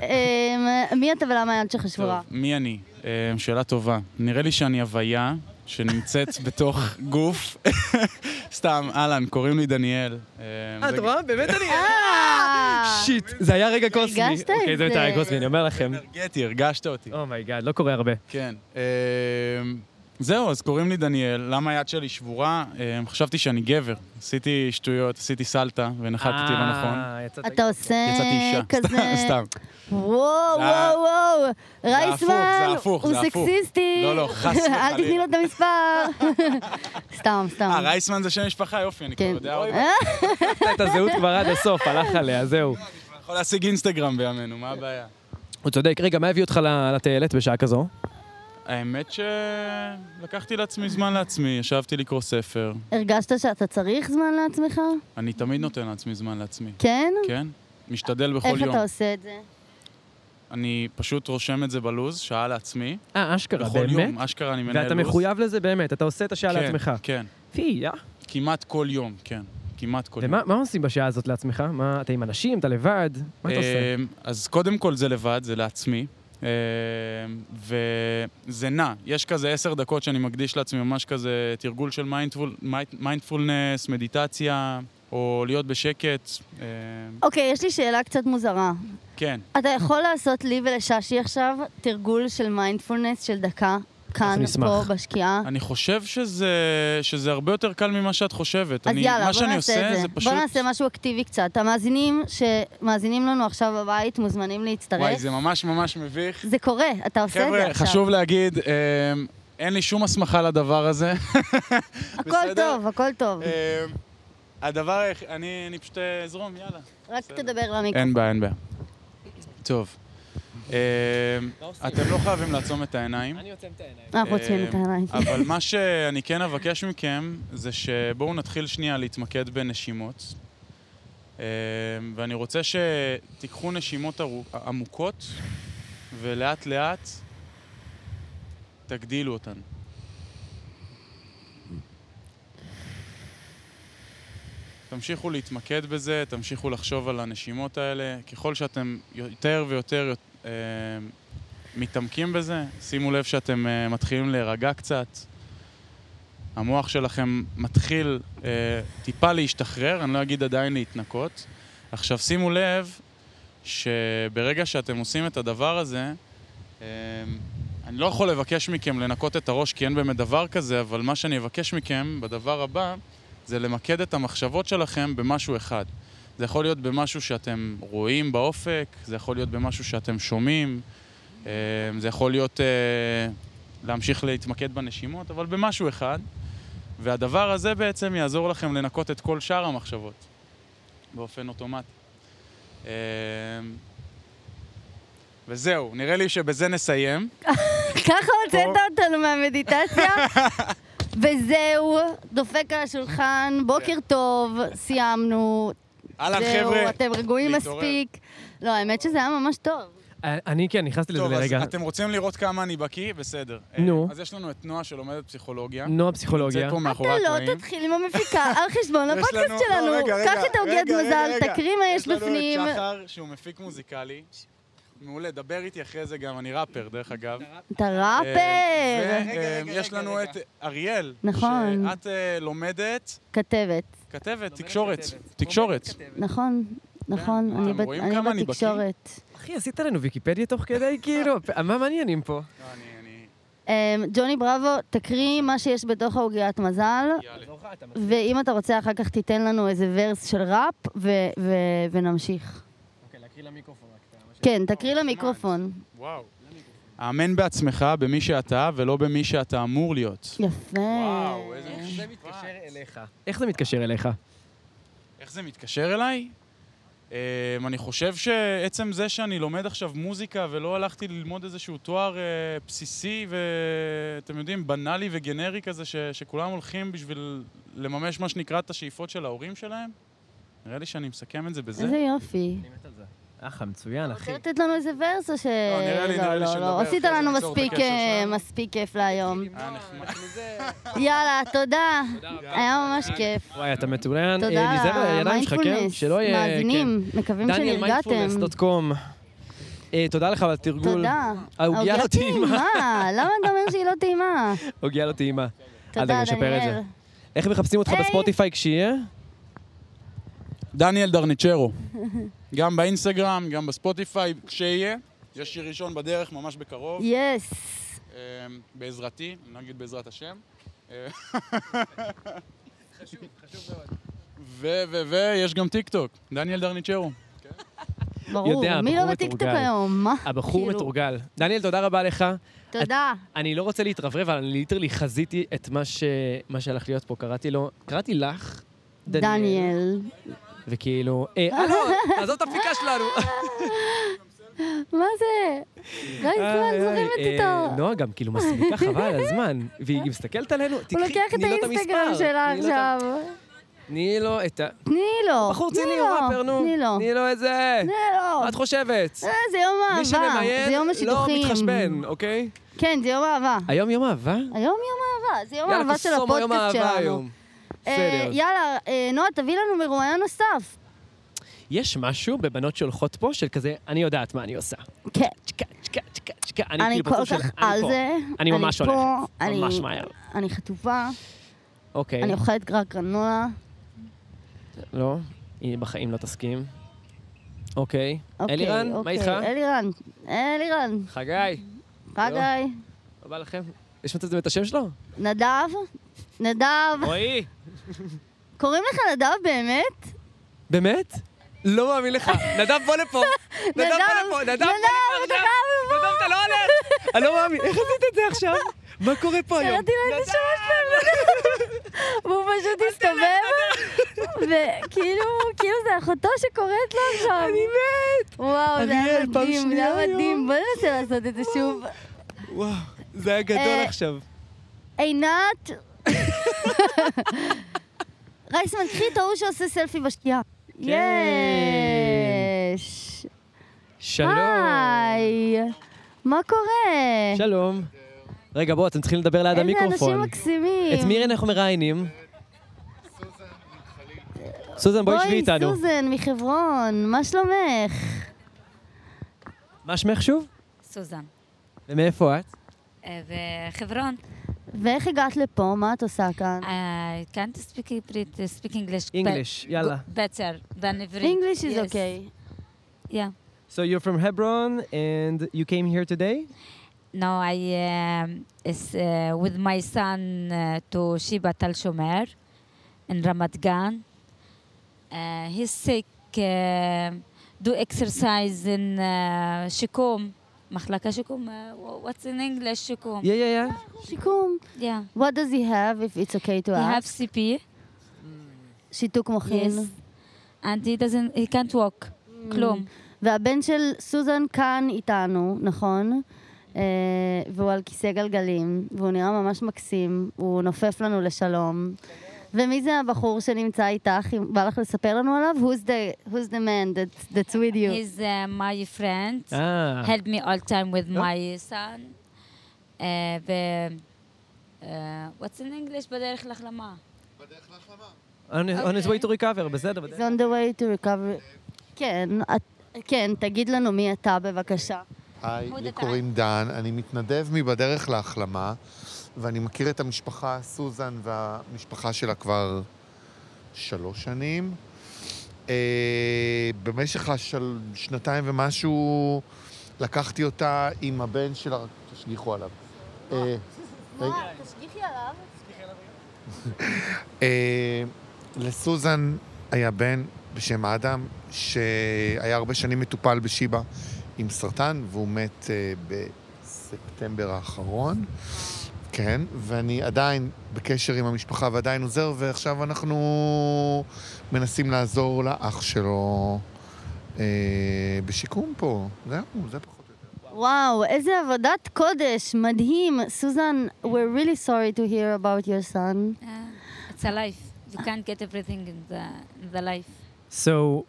אמ, מי אתה ולמה היד שלך שבורה? טוב, מי אני? אמ, שאלה טובה. נראה לי שאני הוויה שנמצאת בתוך גוף. סתם, אהלן, קוראים לי דניאל. אה, באמת אני... אה, שיט, זה היה רגע קוסמי. הרגשת את אוקיי, זה באמת זה. היה קוסמי, אני אומר לכם. אנרגטי, הרגשת אותי. אומייגאד, לא קורה הרבה. כן. אמ, זהו, אז קוראים לי דניאל, למה היד שלי שבורה? אמ, חשבתי שאני גבר. עשיתי שטויות, עשיתי סלטה, ונחתתי לא נכון. אתה עושה יצאתי אישה. כזה... סתם. וואו, וואו, זה וואו, הפוך, רייסמן, זה הפוך, הוא זה הפוך. סקסיסטי. לא, לא, חס וחלילה. אל תתני לו את המספר. סתם, סתם. אה, רייסמן זה שם משפחה, יופי, אני כבר כן. יודע. עוד. את הזהות כבר עד הסוף, הלך עליה, זהו. אני יכול להשיג אינסטגרם בימינו, מה הבעיה? הוא צודק. רגע, מה הביא אותך ל- לטיילת בשעה כזו? האמת שלקחתי לעצמי זמן לעצמי, ישבתי לקרוא ספר. הרגשת שאתה צריך זמן לעצמך? אני תמיד נותן לעצמי זמן לעצמי, כן? כן? משתדל בכל איך יום. אתה עושה את זה? אני פשוט רושם את זה בלו"ז, שעה לעצמי. אה, אשכרה, בכל באמת? יום, אשכרה אני מנהל לו"ז. ואתה מחויב לזה באמת, אתה עושה את השעה כן, לעצמך. כן, פי, יא. כמעט כל יום, כן. כמעט כל יום. ומה מה עושים בשעה הזאת לעצמך? מה, אתה עם אנשים, אתה לבד? מה אתה עושה? אמ, אז קודם כל זה לבד, זה לעצמי. אמ, וזה נע, יש כזה עשר דקות שאני מקדיש לעצמי ממש כזה תרגול של מיינדפול- מיינד- מיינדפולנס, מדיטציה, או להיות בשקט. אמ, אוקיי, יש לי שאלה קצת מוזרה. כן, אתה יכול לעשות לי ולששי עכשיו תרגול של מיינדפולנס של דקה? כאן, אנחנו נשמח. פה, בשקיעה. אני חושב שזה, שזה הרבה יותר קל ממה שאת חושבת. אז אני, יאללה, מה בוא שאני נעשה עושה את זה. זה פשוט... בוא נעשה משהו אקטיבי קצת. המאזינים שמאזינים לנו עכשיו בבית מוזמנים להצטרף. וואי, זה ממש ממש מביך. זה קורה, אתה עושה את זה חבר'ה, עכשיו. חשוב להגיד, אה, אין לי שום הסמכה לדבר הזה. הכל טוב, הכל טוב. אמ, אה, הדבר, היח- אני אני פשוט אה, אזרום, יאללה. רק תדבר למיקרופון. אין בעיה, אין בעיה. טוב. אה, אתם לא חייבים לעצום את העיניים. אני עוצם את העיניים. אנחנו אה, עוצמים את העיניים. אבל מה שאני כן אבקש מכם, זה שבואו נתחיל שנייה להתמקד בנשימות. אה, ואני רוצה שתיקחו נשימות ארו- עמוקות, ולאט לאט תגדילו אותן. תמשיכו להתמקד בזה, תמשיכו לחשוב על הנשימות האלה. ככל שאתם יותר ויותר אה, מתעמקים בזה, שימו לב שאתם אה, מתחילים להירגע קצת. המוח שלכם מתחיל אה, טיפה להשתחרר, אני לא אגיד עדיין להתנקות. עכשיו שימו לב שברגע שאתם עושים את הדבר הזה, אה, אני לא יכול לבקש מכם לנקות את הראש כי אין באמת דבר כזה, אבל מה שאני אבקש מכם בדבר הבא זה למקד את המחשבות שלכם במשהו אחד. זה יכול להיות במשהו שאתם רואים באופק, זה יכול להיות במשהו שאתם שומעים, אה, זה יכול להיות אה, להמשיך להתמקד בנשימות, אבל במשהו אחד. והדבר הזה בעצם יעזור לכם לנקות את כל שאר המחשבות באופן אוטומטי. אה, וזהו, נראה לי שבזה נסיים. אה, ככה הוצאת אותנו מהמדיטציה? וזהו, דופק על השולחן, בוקר טוב, סיימנו. אהלן, זהו, חבר'ה. אתם רגועים להתעורר. מספיק. לא, האמת שזה היה ממש טוב. אני כן, נכנסתי לזה טוב, אז לרגע. אתם רוצים לראות כמה אני בקיא? בסדר. נו. אה, אז יש לנו את נועה שלומדת פסיכולוגיה. נועה פסיכולוגיה. נמצאת פה מאחורי אתה הקלעים. לא תתחיל עם המפיקה על חשבון יש הפודקאסט לנו- שלנו. לא, רגע, קח רגע, את העוגיית רגע, רגע, מזל, רגע. תקריא מה יש בפנים. יש לנו את שחר, שהוא מפיק מוזיקלי. מעולה, דבר איתי אחרי זה גם, אני ראפר, דרך אגב. אה, אתה ראפר. ויש לנו את אריאל. נכון. שאת אה, לומדת, כתבת. כתבת, תקשורת. תקשורת. לא, נכון, נכון, כן, אני אתם בת- רואים כמה אני אני בקיא? בתקשורת. אחי, עשית לנו ויקיפדיה תוך כדי, כאילו, פ- מה מעניינים פה? אמ, ג'וני בראבו, תקריא נכון. מה שיש בתוך העוגיית מזל, ואם אתה רוצה אחר כך תיתן לנו איזה ורס של ראפ, ו- ו- ונמשיך. אוקיי, להקריא למיקרופון רק. כן, תקריא למיקרופון. וואו. האמן בעצמך, במי שאתה, ולא במי שאתה אמור להיות. יפה. וואו, איזה זה מתקשר אליך. איך זה מתקשר אליך? איך זה מתקשר אליי? אמ, אני חושב שעצם זה שאני לומד עכשיו מוזיקה ולא הלכתי ללמוד איזשהו תואר אה, בסיסי ואתם יודעים, בנאלי וגנרי כזה ש, שכולם הולכים בשביל לממש מה שנקרא את השאיפות של ההורים שלהם, נראה לי שאני מסכם את זה בזה. איזה יופי. אחלה, מצוין, אתה רוצה לתת לנו איזה ורס או ש... לא, לא, נראה לי, נראה לי שנדבר אחרי עשית זה, לנו ניצור את מספיק, הקשר אה, שלנו. מספיק כיף להיום. היה נחמד. יאללה, תודה. היה ממש כיף. וואי, אתה מצוין. תודה אה, על להיזהר על הידיים שלך, כן? המיינדפולנס. שלא יהיה... כן. מאזינים, מקווים שנרגעתם. דניאלמיינדפולנס.com אה, תודה לך על התרגול. תודה. אוקיי. העוגיה לא טעימה. למה אתה אומר שהיא לא טעימה? עוגיה לא טעימה. אל תודה, דאגה, נשפר את זה. דניאל. איך מחפשים אותך בספוטיפיי כשיהיה? דניאל דרניצ'רו, גם באינסטגרם, גם בספוטיפיי, כשיהיה. יש שיר ראשון בדרך, ממש בקרוב. יס. אמ, בעזרתי, נגיד בעזרת השם. חשוב, חשוב מאוד. ו, ו, ויש גם טיק טוק, דניאל דרניצ'רו. ברור. יודע, מי הבחור לא בטיקטוק מתורגל. היום? מה? הבחור כאילו, מתורגל. דניאל, תודה רבה לך. תודה. אני לא רוצה להתרברב, אבל אני ליטרלי חזיתי את מה ש- מה שהלך להיות פה. קראתי לו, קראתי לך, דניאל. דניאל. וכאילו, אה, הלו, עזוב את הפיקה שלנו. מה זה? לא יזמן, אה, זוכרת לא, אותו. נועה גם כאילו מסמיקה חבל על הזמן, והיא מסתכלת עלינו, הוא תקחי, לוקח את תני לו את האינסטגרם המספר. שלה תני עכשיו. לו את ה- תני לו את ה... תני לו. בחור תני ציני לו, הוא ראפר, נו. תני לו. תני לו את זה. תני לו. מה את חושבת? אה, זה יום מי האהבה. זה יום שממיין לא השידוכים. מתחשבן, אוקיי? כן, זה יום האהבה. היום יום אהבה? היום יום האהבה, זה יום יאללה, האהבה של קוסומו, יום הפודקאסט האהבה שלנו. היום. אה, בסדר. יאללה, אה, נועה, תביא לנו מרואיין נוסף. יש משהו בבנות שהולכות פה של כזה, אני יודעת מה אני עושה. כן. צ'קה, צ'קה, צ'קה, צ'קה. אני כאילו כל בטוח כך של- אני על פה. זה. אני ממש פה, הולכת. אני- ממש מהר. אני חטופה, אוקיי. אני אוכלת רק גרנולה. לא, היא בחיים לא תסכים. אוקיי. אוקיי, אלירן, מה אוקיי. איתך? אלירן, אלירן. חגי. חגי. מה בא לכם? יש מצב את השם שלו? נדב? נדב? רועי. קוראים לך נדב באמת? באמת? לא מאמין לך. נדב, בוא לפה. נדב, בוא לפה. נדב, בוא לפה עכשיו. נדב, אתה לא הולך. אני לא מאמין. איך עשית את זה עכשיו? מה קורה פה היום? קראתי לו את זה שלוש פעמים. והוא פשוט הסתובב, וכאילו, כאילו זה אחותו שקוראת לו עכשיו. אני מת! וואו, זה היה אריאל, פעם מדהים, זה שנייה היה היום. מדהים. בוא ננסה לעשות את זה שוב. וואו, זה היה גדול אה, עכשיו. עינת! רייסמן, קחי את ההוא שעושה סלפי בשקיעה. כן. יש! היי! מה קורה? שלום. רגע, בואו, אתם צריכים לדבר ליד איזה אנשים המיקרופון. מקסימים. את מירי אנחנו מראיינים. סוזן, בואי שבי איתנו. בואי, סוזן מחברון, מה שלומך? מה שמך שוב? סוזן, ומאיפה את? אה, וחברון. ואיך הגעת לפה? מה את עושה כאן? I Uh, can't speak Hebrew, uh, speak English. but English, יאללה. go- Better than Hebrew. English is Yes. okay. Yeah. So you're from Hebron and you came here today? No, I um, is uh, with my son uh, to Sheba Tal Shomer in Ramat Gan. Uh, he's sick. Uh, do exercise in uh, Shikom. מחלקה שיקום, uh, what's in English שיקום? Yeah, yeah, yeah. שיקום. Yeah. What does he have, if it's okay to He have ask? CP. שיתוק מוחין. Mm. Yes. And he doesn't, he can't walk. כלום. והבן של סוזן כאן איתנו, נכון? אה, והוא על כיסא גלגלים, והוא נראה ממש מקסים, הוא נופף לנו לשלום. ומי זה הבחור שנמצא איתך, אם בא לך לספר לנו עליו? Who's the, who's the man that's, that's with you? He's uh, my friend. אה, Ah. Help me all time with Oh. my son. Uh, ו- uh, what's in English? בדרך להחלמה. On his- on his way to recover, בסדר, He's בסדר. on the way to recovery. כן, את, כן, תגיד לנו מי אתה בבקשה. היי, Who לי that I- קוראים דן, אני מתנדב מבדרך להחלמה, ואני מכיר את המשפחה סוזן והמשפחה שלה כבר שלוש שנים. אה, במשך השנתיים ומשהו לקחתי אותה עם הבן שלה, רק תשגיחו עליו. אה, רגע. תשגיחי עליו. אה, לסוזן היה בן בשם אדם, שהיה הרבה שנים מטופל בשיבא עם סרטן, והוא מת אה, בספטמבר האחרון. כן, ואני עדיין בקשר עם המשפחה ועדיין עוזר, ועכשיו אנחנו מנסים לעזור לאח שלו אה, בשיקום פה. זהו, זה פחות. וואו, איזה עבודת קודש, מדהים. סוזן, we're really sorry to hear about your son. It's a life. You can't get everything in the, in the life. So,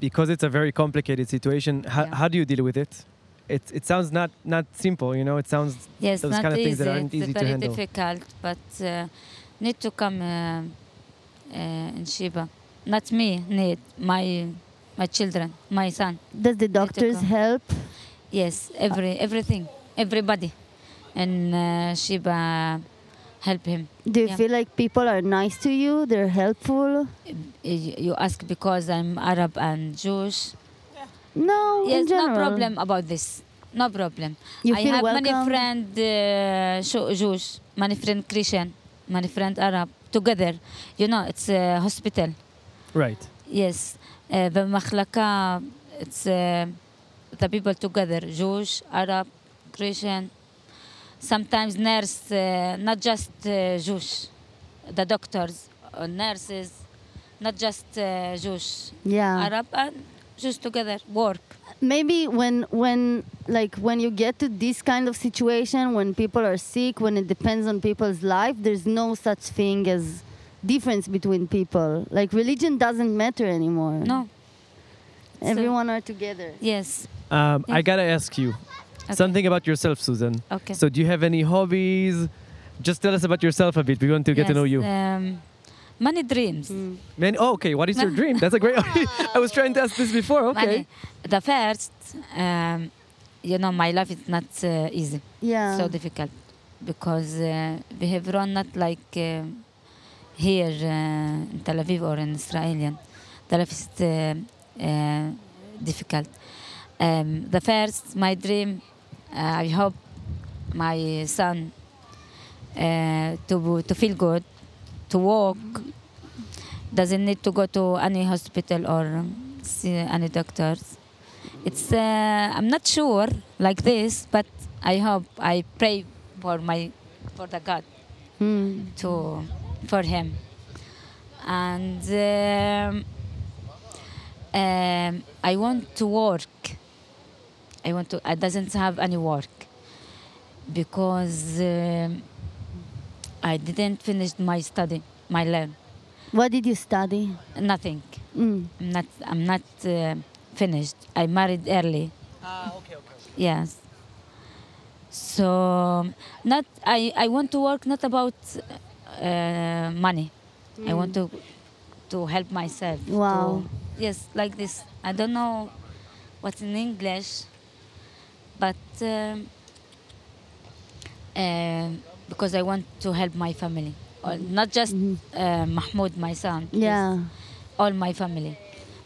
because it's a very complicated situation, how, how do you deal with it? It, it sounds not, not simple, you know, it sounds Yes, those not kind of easy. things that aren't it's easy to very handle. difficult, but uh, need to come uh, uh, in Sheba. Not me, need my my children, my son. Does the doctors help? Yes, every everything, everybody, and uh, Sheba help him. Do you Yeah. feel like people are nice to you? They're helpful? You you ask because I'm Arab and Jewish. No, in yes, no general. problem about this. No problem. You I feel have many welcome? friend uh, Shu- Jewish, many friend Christian, many friend Arab together. You know, it's a hospital. Right. Yes, uh, במחלקה, it's uh, the people together, Jewish, Arab, Christian, sometimes nurse, uh, not just uh, Jewish, the doctors, or nurses, not just uh, Jewish, Yeah. Arab and Jews together work. Maybe when when like when you get to this kind of situation when people are sick, when it depends on people's life, there's no such thing as difference between people. Like religion doesn't matter anymore. No. Everyone are together. Yes. Um, I gotta ask you something about yourself, Susan. Okay. So, do you have any hobbies? Just tell us about yourself a bit. We want to get to know Yes, you. Um, many dreams. Man, oh, okay. What is your dream? That's a great. I was trying to ask this before. Okay. Many. The first, um, you know, my life is not uh, easy. Yeah. So difficult because uh, we have run not like uh, here uh, in Tel Aviv or in Israelian. The life is uh, uh, difficult. Um, the first, my dream, uh, I hope my son uh, to to feel good, to walk. Doesn't need to go to any hospital or see any doctors. It's uh, I'm not sure like this, but I hope I pray for my for the God to for him, and um, um, I want to work. I want to. I doesn't have any work because um, I didn't finish my study, my learn. What did you study? Mm. Nothing. I'm not. I'm not uh, finished. I married early. Ah, okay, okay. Yes. So not. I. I want to work not about uh, money. I want to to help myself. Mm. Wow. to- yes, like this. I don't know what's in English, but. Um, um, because I want to help my family, or not just uh, Mahmoud, my son. just Mm-hmm. Yeah. all my family,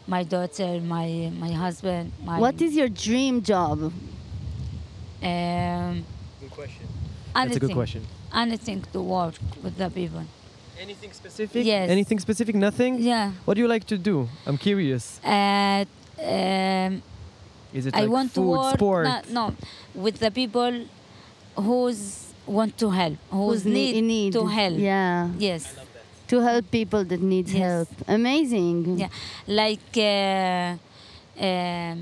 my daughter, my my husband. My What is your dream job? Um, Good question. anything, That's a good question. Anything to work with the people. Anything specific? Yes. Anything specific? Nothing? Yeah. What do you like to do? I'm curious. Uh, um, Is it I like want to food, work sport? No, no, with the people who's want to help, who's, Who's ne- need, in need. to help. Yeah. Yes. To help people that need help. Amazing. Yeah. Like uh, um,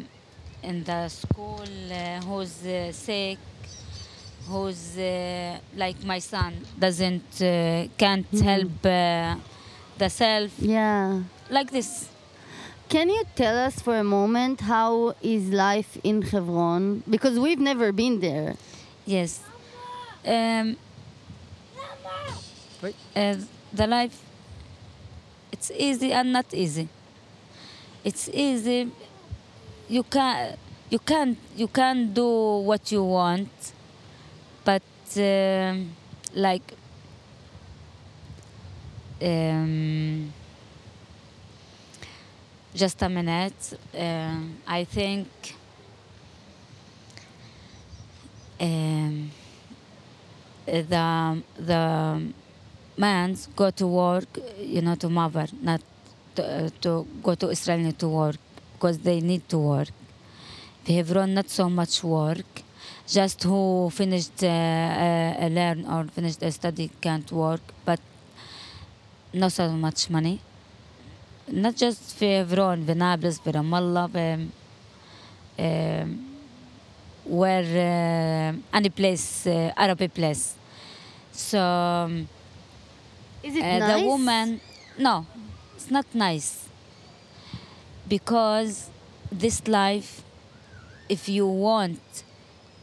in the school, uh, who's uh, sick, who's uh, like my son doesn't uh, can't help uh, the self. Yeah. Like this. Can you tell us for a moment how is life in Hebron? Because we've never been there. Yes. Um, uh, the life, it's easy and not easy. It's easy. You can you can you can do what you want, but um, like um, just a minute. Um, I think. Um, the the men go to work, you know, to mother, not to, uh, to go to Israel to work because they need to work. They have run not so much work. Just who finished uh, uh, learn or finished a study can't work, but not so much money. Not just في هيفرون في نابلس في رام الله في um, where uh, any place uh, Arabic place so um, Is it uh, nice? the woman no it's not nice because this life if you want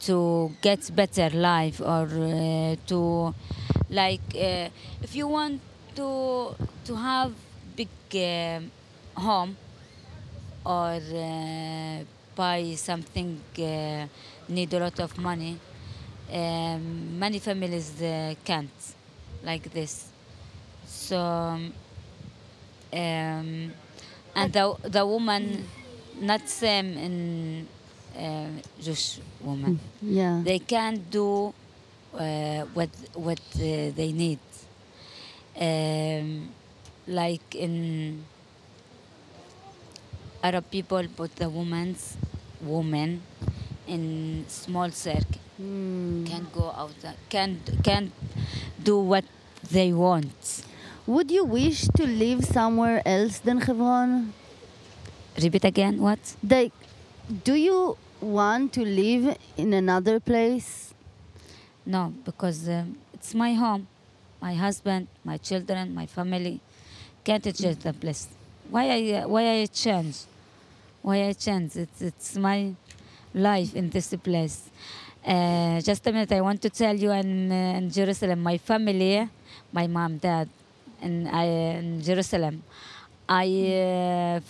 to get better life or uh, to like uh, if you want to to have big um home or uh, buy something uh, need a lot of money um, many families uh, can't like this so um, and the, the woman not same in uh, Jewish woman Yeah. they can do uh, what what uh, they need. Um, like in Arab people, but the women's women in small circle can go out, can can do what they want. Would you wish to live somewhere else than Hebron? Repeat again, what? Like, do you want to live in another place? No, because um, it's my home, my husband, my children, my family. Can't change the place. Why I uh, why I change? Why I change? It's it's my life in this place. Uh, just a minute, I want to tell you in, uh, in Jerusalem, my family, my mom, dad, and I in Jerusalem. I uh,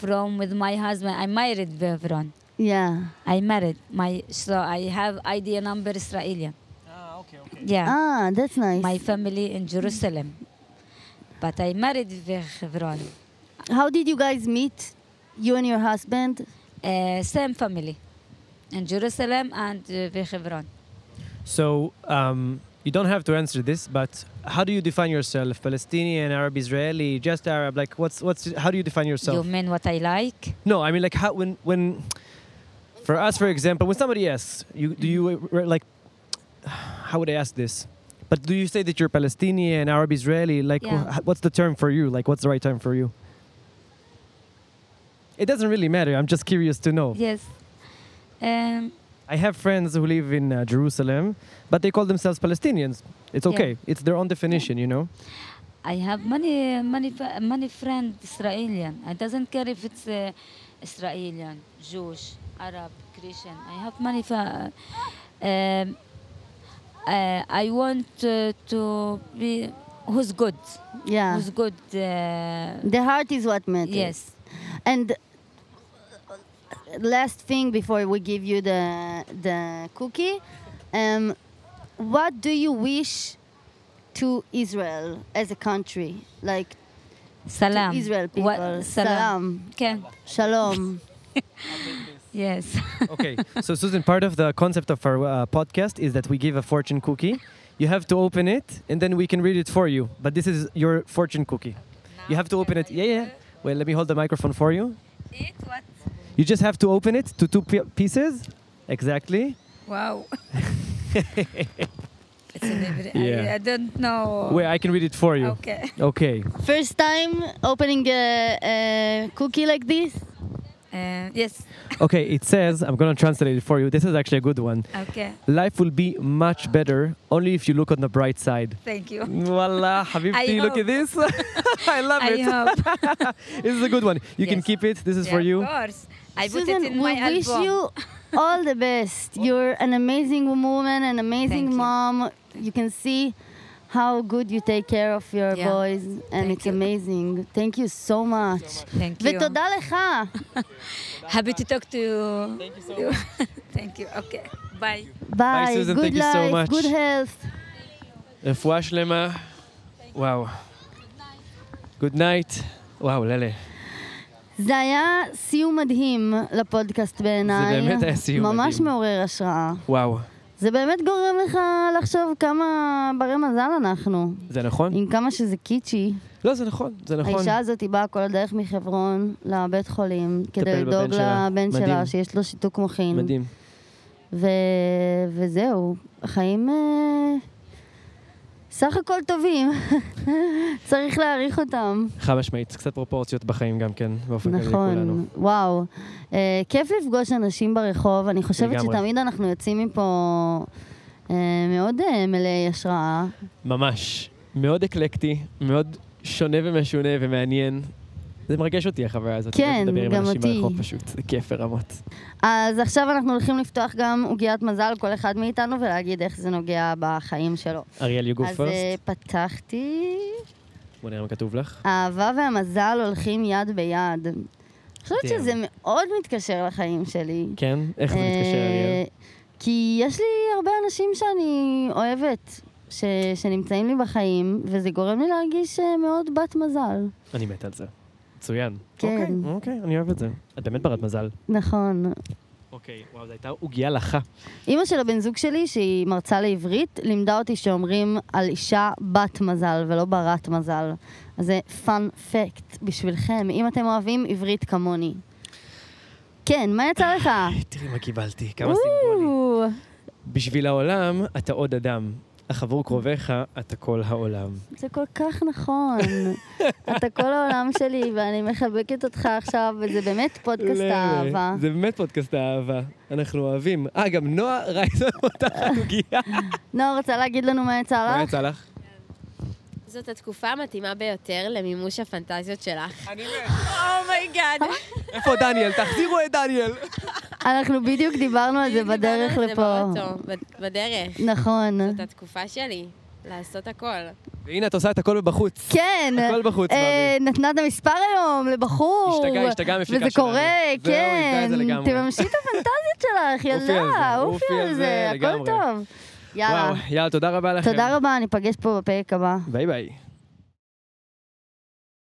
from with my husband. I married Bevron. Yeah. I married my so I have ID number Israeli. Yeah. Ah, that's nice. My family in Jerusalem. But I married in Hebron. How did you guys meet? You and your husband? Uh, same family in Jerusalem and uh, in Hebron. So, um, you don't have to answer this, but how do you define yourself? Palestinian, Arab, Israeli, just Arab? Like, what's what's? How do you define yourself? You mean what I like? No, I mean like how when when for us, for example, when somebody asks you, do you uh, re- like how would I ask this? But do you say that you're Palestinian, Arab, Israeli? Like, Yeah. wh- what's the term for you? Like, what's the right term for you? It doesn't really matter. I'm just curious to know. Yes. Um, I have friends who live in uh, Jerusalem, but they call themselves Palestinians. It's Yeah. okay. It's their own definition, you know. I have many many fa- many friends Israelian. I doesn't care if it's uh, Israelian, Jewish, Arab, Christian. I have many. Fa- um, uh, I want uh, to be who's good. Yeah. Who's good. Uh, The heart is what matters. Yes. And last thing before we give you the the cookie, um, what do you wish to Israel as a country? Like Salam. to Israel people. What- salam. Okay. Shalom. yes. okay. So, Susan, part of the concept of our uh, podcast is that we give a fortune cookie. You have to open it, and then we can read it for you. But this is your fortune cookie. You have to open it. Yeah, yeah. Well, let me hold the microphone for you. Eat what? You just have to open it to two pi pieces. Exactly. Wow. It's a different- I, I don't know. Wait, I can read it for you. Okay. Okay. First time opening a, a cookie like this? Uh, yes. Okay, it says, I'm going to translate it for you. This is actually a good one. Okay. Life will be much better only if you look on the bright side. Thank you. Wallah, I Habibti, look hope. at this. I love I it. hope. this is a good one. You can keep it. This is for you. Of course. I put Susan, it in we my wish album. you all the best. You're an amazing woman, an amazing mom. You. can see how good you take care of your Yeah. boys, and it's amazing. Thank you so much. Thank you. ותודה לך. Happy to talk to you. Thank you so much. Thank you. Okay. Bye. Bye. Susan, good thank you life. so much. Good health. רפואה שלמה. וואו. גוד נייט. וואו, ללה. זה היה סיום מדהים לפודקאסט בעיניי. באמת היה סיום ממש מדהים. מעורר השראה. וואו. זה באמת גורם לך לחשוב כמה ברי מזל אנחנו. זה נכון? Mm. עם כמה שזה קיצ'י. לא, זה נכון, זה נכון. האישה הזאת היא באה כל הדרך מחברון לבית חולים, כדי לטפל בבן לדאוג שלה. לבן מדהים. שלה, שיש לו שיתוק מוחין. מדהים. mm. ו... וזהו, חיים אה, סך הכל טובים. צריך להעריך אותם. חד משמעית, קצת פרופורציות בחיים גם כן, באופן כללי כולנו. נכון, וואו. אה, כיף לפגוש אנשים ברחוב, אני חושבת לגמרי. שתמיד אנחנו יוצאים מפה אה, מאוד אה, מלאי השראה. ממש. מאוד אקלקטי, מאוד שונה ומשונה ומעניין. זה מרגש אותי, החוויה הזאת. כן, לדבר עם גם אנשים אותי. ברחוב פשוט, זה כיף ברמות. אז עכשיו אנחנו הולכים לפתוח גם עוגיית מזל, כל אחד מאיתנו, ולהגיד איך זה נוגע בחיים שלו. אריאל, you go אז אה, first. פתחתי... בוא נראה מה כתוב לך. האהבה והמזל הולכים יד ביד. אני חושבת מדהים. שזה מאוד מתקשר לחיים שלי. כן? איך זה מתקשר, אה, אריאל? כי יש לי הרבה אנשים שאני אוהבת, ש... שנמצאים לי בחיים, וזה גורם לי להרגיש אה, מאוד בת מזל. אני מת על זה. מצוין. כן. אוקיי, אוקיי, אני אוהב את זה. את באמת ברת מזל. נכון. אוקיי, וואו, זו הייתה עוגיה לחה. אימא של הבן זוג שלי, שהיא מרצה לעברית, לימדה אותי שאומרים על אישה בת מזל ולא ברת מזל. אז זה פאן פקט בשבילכם, אם אתם אוהבים עברית כמוני. כן, מה יצא לך? תראי מה קיבלתי, כמה סימנים. בשביל העולם, אתה עוד אדם. אך עבור קרוביך, אתה כל העולם. זה כל כך נכון. אתה כל העולם שלי, ואני מחבקת אותך עכשיו, וזה באמת פודקאסט למה? האהבה. זה באמת פודקאסט האהבה. אנחנו אוהבים. אה, גם נועה רייזון אותה חגוגיה. נועה רוצה להגיד לנו מה יצא מה לך? יצא לך? זאת התקופה המתאימה ביותר למימוש הפנטזיות שלך. אני מת. Oh אומייגאד. איפה דניאל? תחזירו את דניאל. אנחנו בדיוק דיברנו על זה בדרך זה לפה. באוטו, ב- בדרך. נכון. זאת התקופה שלי, לעשות הכל. והנה, את עושה את הכל בחוץ. כן. הכל בחוץ, אה, נתנה את המספר היום לבחור. השתגעה, השתגעה המפיקה וזה שלנו. קורה, זהו, איבדה את כן. זה לגמרי. תממשי את הפנטזיות שלך, על זה, ילדה. אופי על זה, הכל לגמרי. טוב. יאללה. וואו, יאללה, תודה רבה לכם. תודה רבה, ניפגש פה בפרק הבא. ביי ביי.